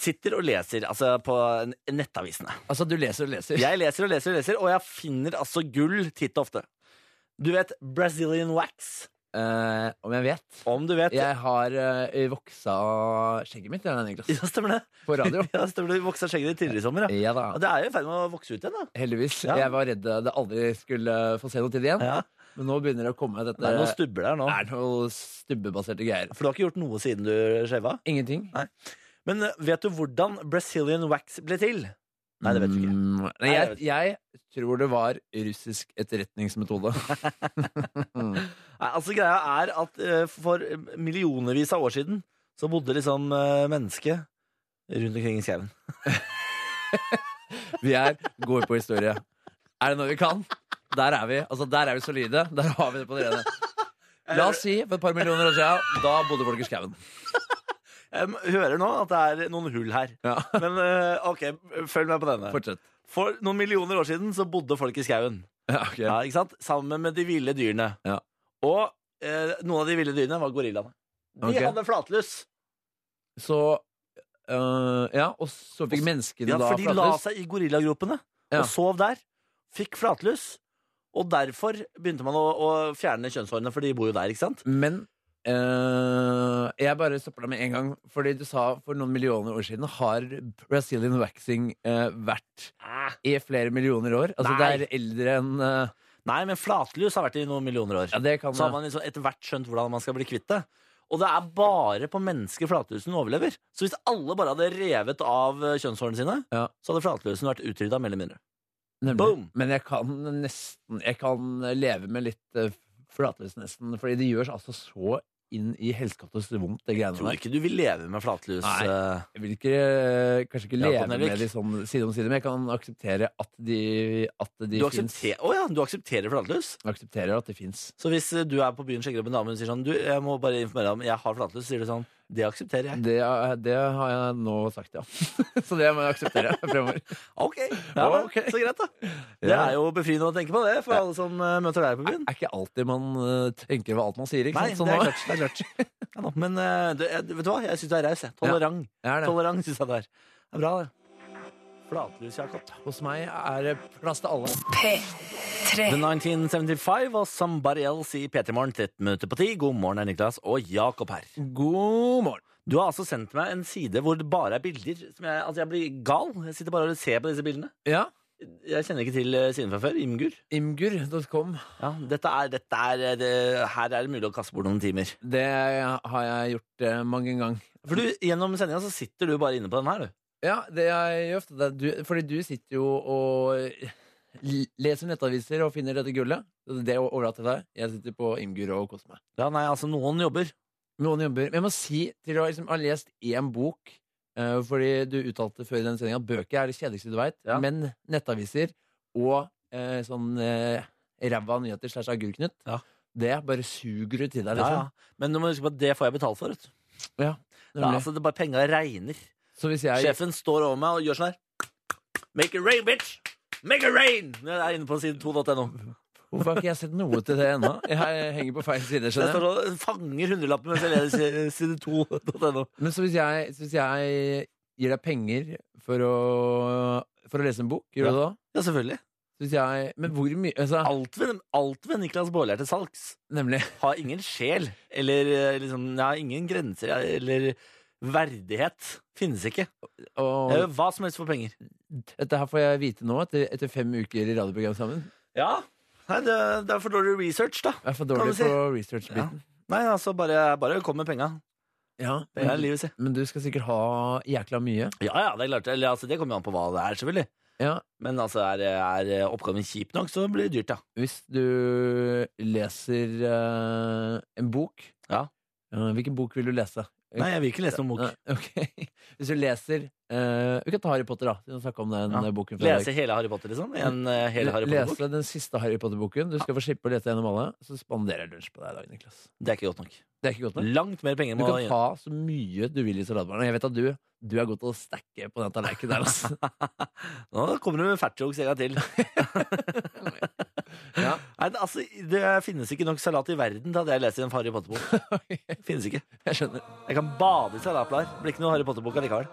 [SPEAKER 2] Sitter og leser altså, på n- nettavisene.
[SPEAKER 3] Altså, du leser og leser.
[SPEAKER 2] Jeg leser og leser og leser, og jeg finner altså gull titt og ofte. Du vet Brazilian wax?
[SPEAKER 3] Eh, om jeg vet?
[SPEAKER 2] Om du vet
[SPEAKER 3] Jeg har eh, voksa skjegget mitt jeg, Niklas,
[SPEAKER 2] Ja, stemmer det.
[SPEAKER 3] på radio.
[SPEAKER 2] Ja, stemmer det. Du voksa skjegget ditt tidligere i sommer. Ja.
[SPEAKER 3] Ja da,
[SPEAKER 2] Ja, det er jo i ferd med å vokse ut igjen, da.
[SPEAKER 3] heldigvis.
[SPEAKER 2] Ja.
[SPEAKER 3] Jeg var redd det aldri skulle få se noe til det igjen.
[SPEAKER 2] Ja.
[SPEAKER 3] Men nå begynner det å komme dette
[SPEAKER 2] Det er noen stubber der nå.
[SPEAKER 3] er noe stubbebaserte greier. Mm,
[SPEAKER 2] For du har ikke gjort noe siden du skjeva?
[SPEAKER 3] Ingenting.
[SPEAKER 2] Men eh, vet du hvordan Brazilian wax ble til? Nei, det vet du ikke.
[SPEAKER 3] Mm, nei,
[SPEAKER 2] Nei,
[SPEAKER 3] jeg,
[SPEAKER 2] det
[SPEAKER 3] jeg tror det var russisk etterretningsmetode.
[SPEAKER 2] Nei, altså Greia er at eh, for millionervis av år siden så bodde liksom eh, mennesket rundt omkring i skauen.
[SPEAKER 3] Vi er går på historie. Er det noe vi kan? Der er vi altså, der er vi solide. Der har vi det på det rene. La oss si for et par millioner år siden, da bodde folk i skauen.
[SPEAKER 2] Jeg m- hører nå at det er noen hull her.
[SPEAKER 3] Ja.
[SPEAKER 2] Men eh, OK, følg med på denne.
[SPEAKER 3] Fortsett.
[SPEAKER 2] For noen millioner år siden så bodde folk i skauen.
[SPEAKER 3] Ja, ok.
[SPEAKER 2] Ja, ikke sant? Sammen med de ville dyrene.
[SPEAKER 3] Ja.
[SPEAKER 2] Og eh, noen av de ville dyrene var gorillaene. De
[SPEAKER 3] Ok.
[SPEAKER 2] hadde flatlus.
[SPEAKER 3] Så øh, Ja, og så fikk menneskene
[SPEAKER 2] Ja,
[SPEAKER 3] da
[SPEAKER 2] for de la
[SPEAKER 3] flatlus.
[SPEAKER 2] seg i gorillagropene
[SPEAKER 3] Ja.
[SPEAKER 2] og sov der. Fikk flatlus. Og derfor begynte man å, å fjerne kjønnshårene, for de bor jo der, ikke sant?
[SPEAKER 3] Men øh, jeg bare stopper deg med en gang, fordi du sa for noen millioner år siden har Brazilian waxing øh, vært i flere millioner år. Altså
[SPEAKER 2] Nei.
[SPEAKER 3] det er eldre enn øh,
[SPEAKER 2] Nei, men flatlus har vært i noen millioner år.
[SPEAKER 3] Ja, det kan
[SPEAKER 2] Så har man liksom etter hvert skjønt hvordan man skal bli kvitt det. Og det er bare på mennesker flatlusen overlever. Så hvis alle bare hadde revet av eh, kjønnshårene sine,
[SPEAKER 3] Ja.
[SPEAKER 2] så hadde flatlusen vært utrydda mer eller mindre.
[SPEAKER 3] Nemlig.
[SPEAKER 2] Boom!
[SPEAKER 3] Men jeg kan nesten Jeg kan leve med litt uh, flatlus, nesten. Fordi det gjør altså så inn i helskattes vondt, det
[SPEAKER 2] Jeg
[SPEAKER 3] greiene
[SPEAKER 2] tror
[SPEAKER 3] der.
[SPEAKER 2] ikke du vil leve med flatlus.
[SPEAKER 3] Nei.
[SPEAKER 2] eh,
[SPEAKER 3] Jeg vil ikke, øh, kanskje ikke
[SPEAKER 2] Jakob
[SPEAKER 3] leve
[SPEAKER 2] Nelvik.
[SPEAKER 3] med de sånn side om side, men jeg kan akseptere at de, at de
[SPEAKER 2] Du,
[SPEAKER 3] fins.
[SPEAKER 2] aksepter, Å ja, du aksepterer flatlus?
[SPEAKER 3] aksepterer at det fins.
[SPEAKER 2] Så hvis eh, du er på byen og sjekker opp en dame og sier sånn du, 'Jeg må bare informere deg om jeg har flatlus', sier du sånn 'Det aksepterer jeg'.
[SPEAKER 3] Det, er- det har jeg nå sagt, ja. Så det må jeg akseptere fremover.
[SPEAKER 2] Ok, ja, da,
[SPEAKER 3] Ok.
[SPEAKER 2] Så greit, da. Det
[SPEAKER 3] Ja.
[SPEAKER 2] er jo befriende å tenke på det for alle som eh, møter deg på byen.
[SPEAKER 3] Det er ikke alltid man eh, tenker ved alt man sier. ikke
[SPEAKER 2] Nei,
[SPEAKER 3] sant? Sånn
[SPEAKER 2] det er
[SPEAKER 3] nå-
[SPEAKER 2] klart. Det er klart. Ja, da, men eh, det, jeg- vet du hva, jeg syns du er raus. jeg. Tolerant.
[SPEAKER 3] Jeg er det.
[SPEAKER 2] Tolerant syns jeg det er. Det er bra, det. Flatlus, Jakob.
[SPEAKER 3] Hos meg er det plass til alle.
[SPEAKER 2] The
[SPEAKER 1] P3.
[SPEAKER 2] 1975 og Somebody Else i P3 Morgen 13 minutter på 10. God morgen, det er Niklas og Jakob her.
[SPEAKER 3] God morgen.
[SPEAKER 2] Du har altså sendt meg en side hvor det bare er bilder. Som jeg, altså jeg blir gal. Jeg sitter bare og ser på disse bildene.
[SPEAKER 3] Ja,
[SPEAKER 2] Jeg kjenner ikke til eh, siden fra før. Imgur.
[SPEAKER 3] imgur.com.
[SPEAKER 2] Ja, dette er, dette er, eh, det, her er det mulig å kaste bort noen timer.
[SPEAKER 3] Det har jeg gjort eh, mange ganger.
[SPEAKER 2] For du, Gjennom sendinga så sitter du bare inne på den her, du.
[SPEAKER 3] Ja, det jeg gjør ofte det er du, Fordi du sitter jo og l- leser nettaviser og finner dette gullet. Det overlater til deg. Jeg sitter på Imgur og koser meg.
[SPEAKER 2] Ja, nei, altså, noen jobber.
[SPEAKER 3] Noen jobber. Men jeg må si til å liksom, ha lest én bok eh, Fordi du uttalte før i den sendinga at bøker er det kjedeligste du veit.
[SPEAKER 2] Ja.
[SPEAKER 3] Men nettaviser og eh, sånn eh, ræva nyheter slash agurknytt,
[SPEAKER 2] Ja.
[SPEAKER 3] det bare suger du til deg,
[SPEAKER 2] Ja,
[SPEAKER 3] liksom.
[SPEAKER 2] ja. Men du må huske på at det får jeg betalt for. Vet. du. Ja,
[SPEAKER 3] Nemlig.
[SPEAKER 2] altså, det er bare penga regner.
[SPEAKER 3] Så hvis jeg
[SPEAKER 2] Sjefen står over meg og gjør sånn her. Make it rain, bitch! Make it rain! Jeg er inne på side 2.no.
[SPEAKER 3] Hvorfor har ikke jeg sett noe til det ennå? Jeg henger på feil side.
[SPEAKER 2] Jeg
[SPEAKER 3] skjønner
[SPEAKER 2] står
[SPEAKER 3] jeg.
[SPEAKER 2] og fanger hundrelappen mens jeg leser side 2.no.
[SPEAKER 3] Men så hvis jeg, så hvis jeg gir deg penger for å, for å lese en bok, gjør du det da?
[SPEAKER 2] Ja, selvfølgelig.
[SPEAKER 3] Så hvis jeg, men hvor mye altså,
[SPEAKER 2] Alt ved, alt ved Niklas Baarli er til salgs.
[SPEAKER 3] Nemlig.
[SPEAKER 2] Har ingen sjel, eller eh, liksom, ja, ingen grenser, eller Verdighet finnes ikke.
[SPEAKER 3] Og
[SPEAKER 2] Eh, Hva som helst for penger.
[SPEAKER 3] dette her får jeg vite nå, etter, etter fem uker i radioprogram sammen.
[SPEAKER 2] Ja, Nei, det, det er for dårlig research, da.
[SPEAKER 3] Jeg er for
[SPEAKER 2] Kan
[SPEAKER 3] dårlig
[SPEAKER 2] du si?
[SPEAKER 3] på research-biten.
[SPEAKER 2] Nei, altså, bare, bare kom med penga.
[SPEAKER 3] Ja.
[SPEAKER 2] Det er livet, si.
[SPEAKER 3] Men du skal sikkert ha jækla mye.
[SPEAKER 2] Ja, ja, det er klart. Eller, altså, det kommer jo an på hva det er, selvfølgelig.
[SPEAKER 3] Ja.
[SPEAKER 2] Men altså, er, er oppgaven kjip nok, så blir det dyrt, ja.
[SPEAKER 3] Hvis du leser eh, en bok
[SPEAKER 2] Ja.
[SPEAKER 3] Eh, Hvilken bok vil du lese?
[SPEAKER 2] Nei, jeg vil ikke lese noen bok.
[SPEAKER 3] Nei, ok. Hvis du leser eh, Vi kan ta Harry Potter, da. Vi kan snakke om den
[SPEAKER 2] Ja.
[SPEAKER 3] eh, boken fra i dag.
[SPEAKER 2] Lese hele Harry Potter, liksom? En eh, hel Harry Potter-bok?
[SPEAKER 3] Lese den siste Harry Potter-boken. Du skal få slippe å lese gjennom alle. Så spanderer jeg lunsj på deg i dag, Niklas.
[SPEAKER 2] Det er ikke godt nok.
[SPEAKER 3] Det er ikke godt nok.
[SPEAKER 2] Langt mer penger
[SPEAKER 3] Du
[SPEAKER 2] må
[SPEAKER 3] kan ta så mye du vil i salatbaren. Og jeg vet at du, du er god til å stacke på den tallerkenen der. Altså.
[SPEAKER 2] Nå kommer du med fatjokes en gang til.
[SPEAKER 3] Ja.
[SPEAKER 2] Nei, det- altså, det finnes ikke nok salat i verden til at jeg leser en Harry Potter-bok. Finnes ikke.
[SPEAKER 3] Jeg skjønner.
[SPEAKER 2] Jeg kan bade i salatblader. Det Blir ikke noe Harry Potter-bok allikevel.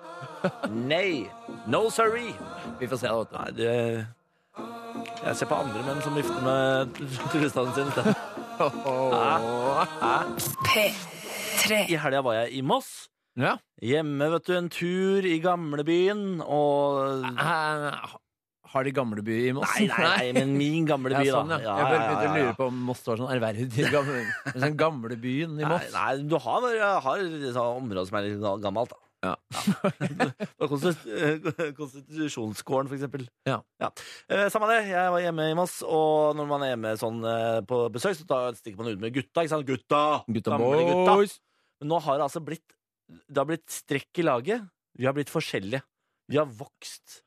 [SPEAKER 2] Nei. No sorry.
[SPEAKER 3] Vi får se, da. Vet
[SPEAKER 2] Nei,
[SPEAKER 3] du.
[SPEAKER 2] det Jeg ser på andre menn som vifter med turistene sine.
[SPEAKER 3] Ah,
[SPEAKER 1] P3.
[SPEAKER 2] I helga var jeg i Moss.
[SPEAKER 3] Ja.
[SPEAKER 2] Hjemme, vet du. En tur i gamlebyen og
[SPEAKER 3] Eh, Har de gamleby i Moss?
[SPEAKER 2] Nei, nei, nei, men min gamle by,
[SPEAKER 3] ja,
[SPEAKER 2] da.
[SPEAKER 3] sånn, ja. Jeg bare begynte å lure på om Moss var sånn ærverdig gamle, men sånn gamlebyen i
[SPEAKER 2] Nei,
[SPEAKER 3] Moss.
[SPEAKER 2] nei, du har, har sånn områder som er litt ga- gammelt, da.
[SPEAKER 3] Ja.
[SPEAKER 2] Det var konstit- eh, Konstitusjonsgården, for eksempel.
[SPEAKER 3] Ja.
[SPEAKER 2] Eh, Samme det, jeg var hjemme i Moss, og når man er hjemme sånn eh, på besøk, så tar- stikker man ut med gutta, ikke sant? Gutta!
[SPEAKER 3] Gutta
[SPEAKER 2] Gamle
[SPEAKER 3] boys!
[SPEAKER 2] Men nå har det altså blitt Det har blitt strekk i laget. Vi har blitt forskjellige. Vi har vokst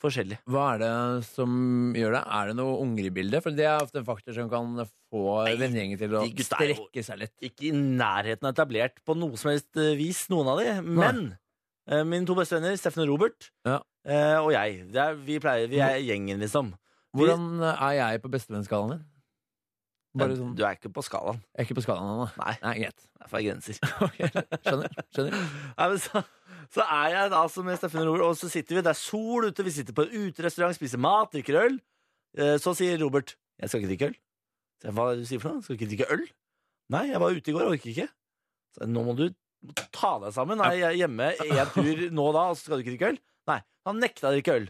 [SPEAKER 2] forskjellig.
[SPEAKER 3] Hva er det som gjør det? Er det noe unger i bildet? For det er ofte en faktor som kan få vennegjengen til å
[SPEAKER 2] de gutta er jo-
[SPEAKER 3] strekke seg litt.
[SPEAKER 2] Ikke i nærheten av etablert på noe som helst eh, vis, noen av de, men eh, mine to beste venner, Steffen og Robert,
[SPEAKER 3] Ja.
[SPEAKER 2] eh, og jeg, det er, vi, pleier, vi er gjengen, liksom.
[SPEAKER 3] Hvordan er jeg på bestevennskalaen din? Bare sånn,
[SPEAKER 2] Du er ikke på skalaen.
[SPEAKER 3] jeg er ikke på skalaen ennå.
[SPEAKER 2] Nei.
[SPEAKER 3] Nei, greit.
[SPEAKER 2] Derfor er grenser.
[SPEAKER 3] Skjønner. skjønner.
[SPEAKER 2] Nei, men så, så er jeg altså med Steffen og Robert, og så sitter vi, det er sol ute, vi sitter på en uterestaurant, spiser mat, drikker øl. Eh, Så sier Robert, jeg skal ikke drikke øl. Så jeg, Hva er det du sier for noe? Skal ikke drikke øl? Nei, jeg var ute i går, jeg orker ikke. Så jeg, nå må du ta deg sammen. Nei, jeg er hjemme en tur nå da, og så skal du ikke drikke øl? Nei, han nekta å drikke øl.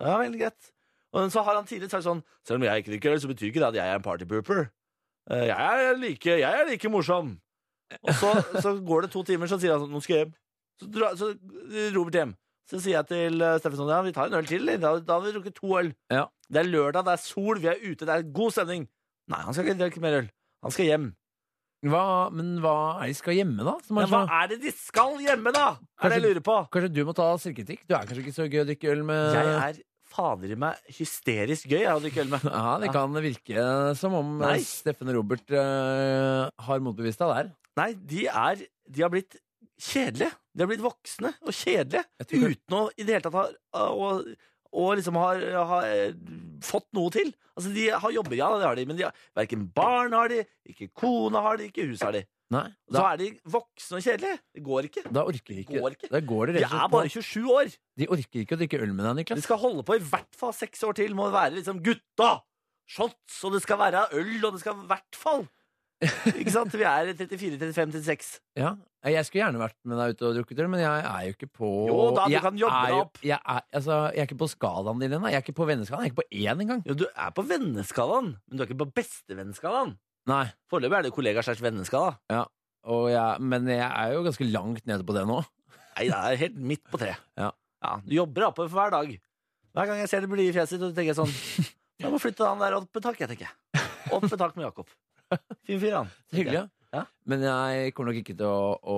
[SPEAKER 2] Så ja, veldig greit. Og så har han tidligere sagt sånn, selv om jeg ikke drikker øl, så betyr ikke det at jeg er en partypooper. Eh, Jeg er like, jeg er like morsom. Og så, så går det to timer, så sier han sånn, nå skal jeg hjem. Så, dra, så Robert hjem. Så sier jeg til eh, Steffen sånn, ja, vi tar en øl til. eller? Da, da har vi drukket to øl.
[SPEAKER 3] Ja.
[SPEAKER 2] Det er lørdag, det er sol, vi er ute, det er god stemning. Nei, han skal ikke drikke mer øl. Han skal hjem.
[SPEAKER 3] Hva, men hva er de skal hjemme, da? Som
[SPEAKER 2] Men
[SPEAKER 3] er
[SPEAKER 2] hva
[SPEAKER 3] så,
[SPEAKER 2] er det de skal hjemme, da? Er det jeg
[SPEAKER 3] Kanskje-
[SPEAKER 2] lurer på?
[SPEAKER 3] kanskje du må ta selvkritikk? Du er kanskje ikke så gøy å drikke øl med
[SPEAKER 2] Jeg er fader i meg hysterisk gøy jeg å drikke øl med.
[SPEAKER 3] Ja, det kan virke som om
[SPEAKER 2] Nei.
[SPEAKER 3] eh, Steffen og Robert eh, har motbevist deg der.
[SPEAKER 2] Nei, de er De har blitt kjedelige. De har blitt voksne og kjedelige
[SPEAKER 3] Jeg tror ikke-
[SPEAKER 2] uten å i det hele tatt ha og, og liksom har, har eh, fått noe til. Altså, de har jobber, ja, det har de, men de har, verken barn har de, ikke kone har de, ikke hus har de.
[SPEAKER 3] Nei,
[SPEAKER 2] Så
[SPEAKER 3] da,
[SPEAKER 2] er de voksne og kjedelige. Det går ikke.
[SPEAKER 3] da orker de ikke.
[SPEAKER 2] går ikke.
[SPEAKER 3] Da går det
[SPEAKER 2] De
[SPEAKER 3] rett og
[SPEAKER 2] er
[SPEAKER 3] slett
[SPEAKER 2] bare
[SPEAKER 3] på-
[SPEAKER 2] 27 år.
[SPEAKER 3] De orker ikke å drikke øl med deg,
[SPEAKER 2] De
[SPEAKER 3] Niklas.
[SPEAKER 2] skal holde på i hvert fall seks år til. Må være liksom gutta! Shots, og det skal være øl, og det skal i hvert fall Ikke sant? Vi er 34, 35, 36.
[SPEAKER 3] Ja. Jeg skulle gjerne vært med deg ute og drukket øl, men jeg er jo ikke på
[SPEAKER 2] Jo da, du
[SPEAKER 3] jeg
[SPEAKER 2] kan jobbe
[SPEAKER 3] er
[SPEAKER 2] deg
[SPEAKER 3] jo-
[SPEAKER 2] opp.
[SPEAKER 3] Jeg er, altså, jeg er ikke på skalaen din ennå. Jeg er ikke på venneskalaen. Jeg er ikke på én engang.
[SPEAKER 2] Jo, du er på venneskalaen, men du er ikke på bestevennskalaen.
[SPEAKER 3] Nei.
[SPEAKER 2] Foreløpig er det kollega slags venneskala.
[SPEAKER 3] Og jeg, men jeg er jo ganske langt nede på det nå.
[SPEAKER 2] Nei, det er helt midt på treet.
[SPEAKER 3] Ja.
[SPEAKER 2] du jobber oppover for hver dag. Hver gang jeg ser det blide fjeset ditt, så tenker jeg sånn Jeg må flytte han der opp et tak, jeg, tenker jeg. Opp et tak med Jakob. Fin fyr, han.
[SPEAKER 3] Så Hyggelig.
[SPEAKER 2] Ja.
[SPEAKER 3] Men jeg kommer nok ikke til å, å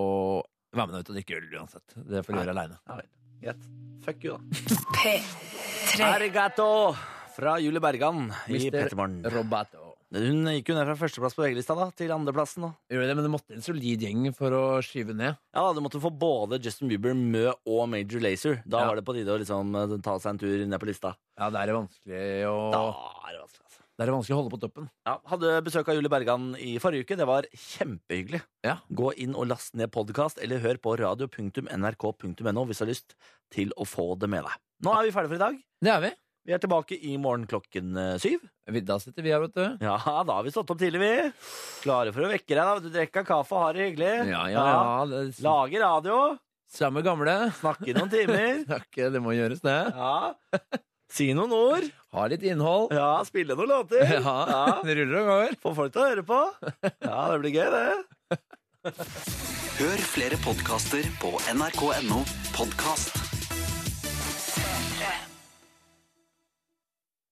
[SPEAKER 3] være med deg ut og drikke øl uansett. Det får du
[SPEAKER 2] Nei.
[SPEAKER 3] gjøre aleine.
[SPEAKER 2] Ja vel. Greit. Fuck you, da.
[SPEAKER 1] P3.
[SPEAKER 2] Arigato fra Julie Bergan i
[SPEAKER 3] Mister
[SPEAKER 2] Pettermorgen.
[SPEAKER 3] Roberto.
[SPEAKER 2] Hun gikk jo ned fra førsteplass på VG-lista da, til andreplassen. da.
[SPEAKER 3] Gjør det, men det måtte en solid gjeng for å skyve ned.
[SPEAKER 2] Ja, da, Du måtte få både Justin Bieber, Mø og Major Lazer. Da
[SPEAKER 3] Ja.
[SPEAKER 2] var det på tide å liksom eh, ta seg en tur ned på lista.
[SPEAKER 3] Ja, det er vanskelig å,
[SPEAKER 2] Da er det vanskelig, altså.
[SPEAKER 3] det er vanskelig å holde på toppen.
[SPEAKER 2] Ja, hadde besøk av Julie Bergan i forrige uke. Det var kjempehyggelig.
[SPEAKER 3] Ja.
[SPEAKER 2] Gå inn og last ned podkast, eller hør på radio.nrk.no hvis du har lyst til å få det med deg. Nå er vi ferdige for i dag.
[SPEAKER 3] Det er vi.
[SPEAKER 2] Vi er tilbake i morgen klokken eh, syv.
[SPEAKER 3] Vi- Da sitter vi her, vet du.
[SPEAKER 2] Ja, da har vi stått opp tidlig, vi. Klare for å vekke deg, da. Du drikker kaffe og har det hyggelig.
[SPEAKER 3] Ja, ja, ja. det-
[SPEAKER 2] Lager radio.
[SPEAKER 3] Samme gamle.
[SPEAKER 2] Snakke noen timer.
[SPEAKER 3] Takk, det må gjøres, det.
[SPEAKER 2] Ja. Si noen ord.
[SPEAKER 3] Ha litt innhold.
[SPEAKER 2] Ja, spille noen låter.
[SPEAKER 3] Ja, det ruller og går.
[SPEAKER 2] Få folk til å høre på. Ja, det blir gøy, det.
[SPEAKER 7] Hør flere podkaster på nrk.no podkast.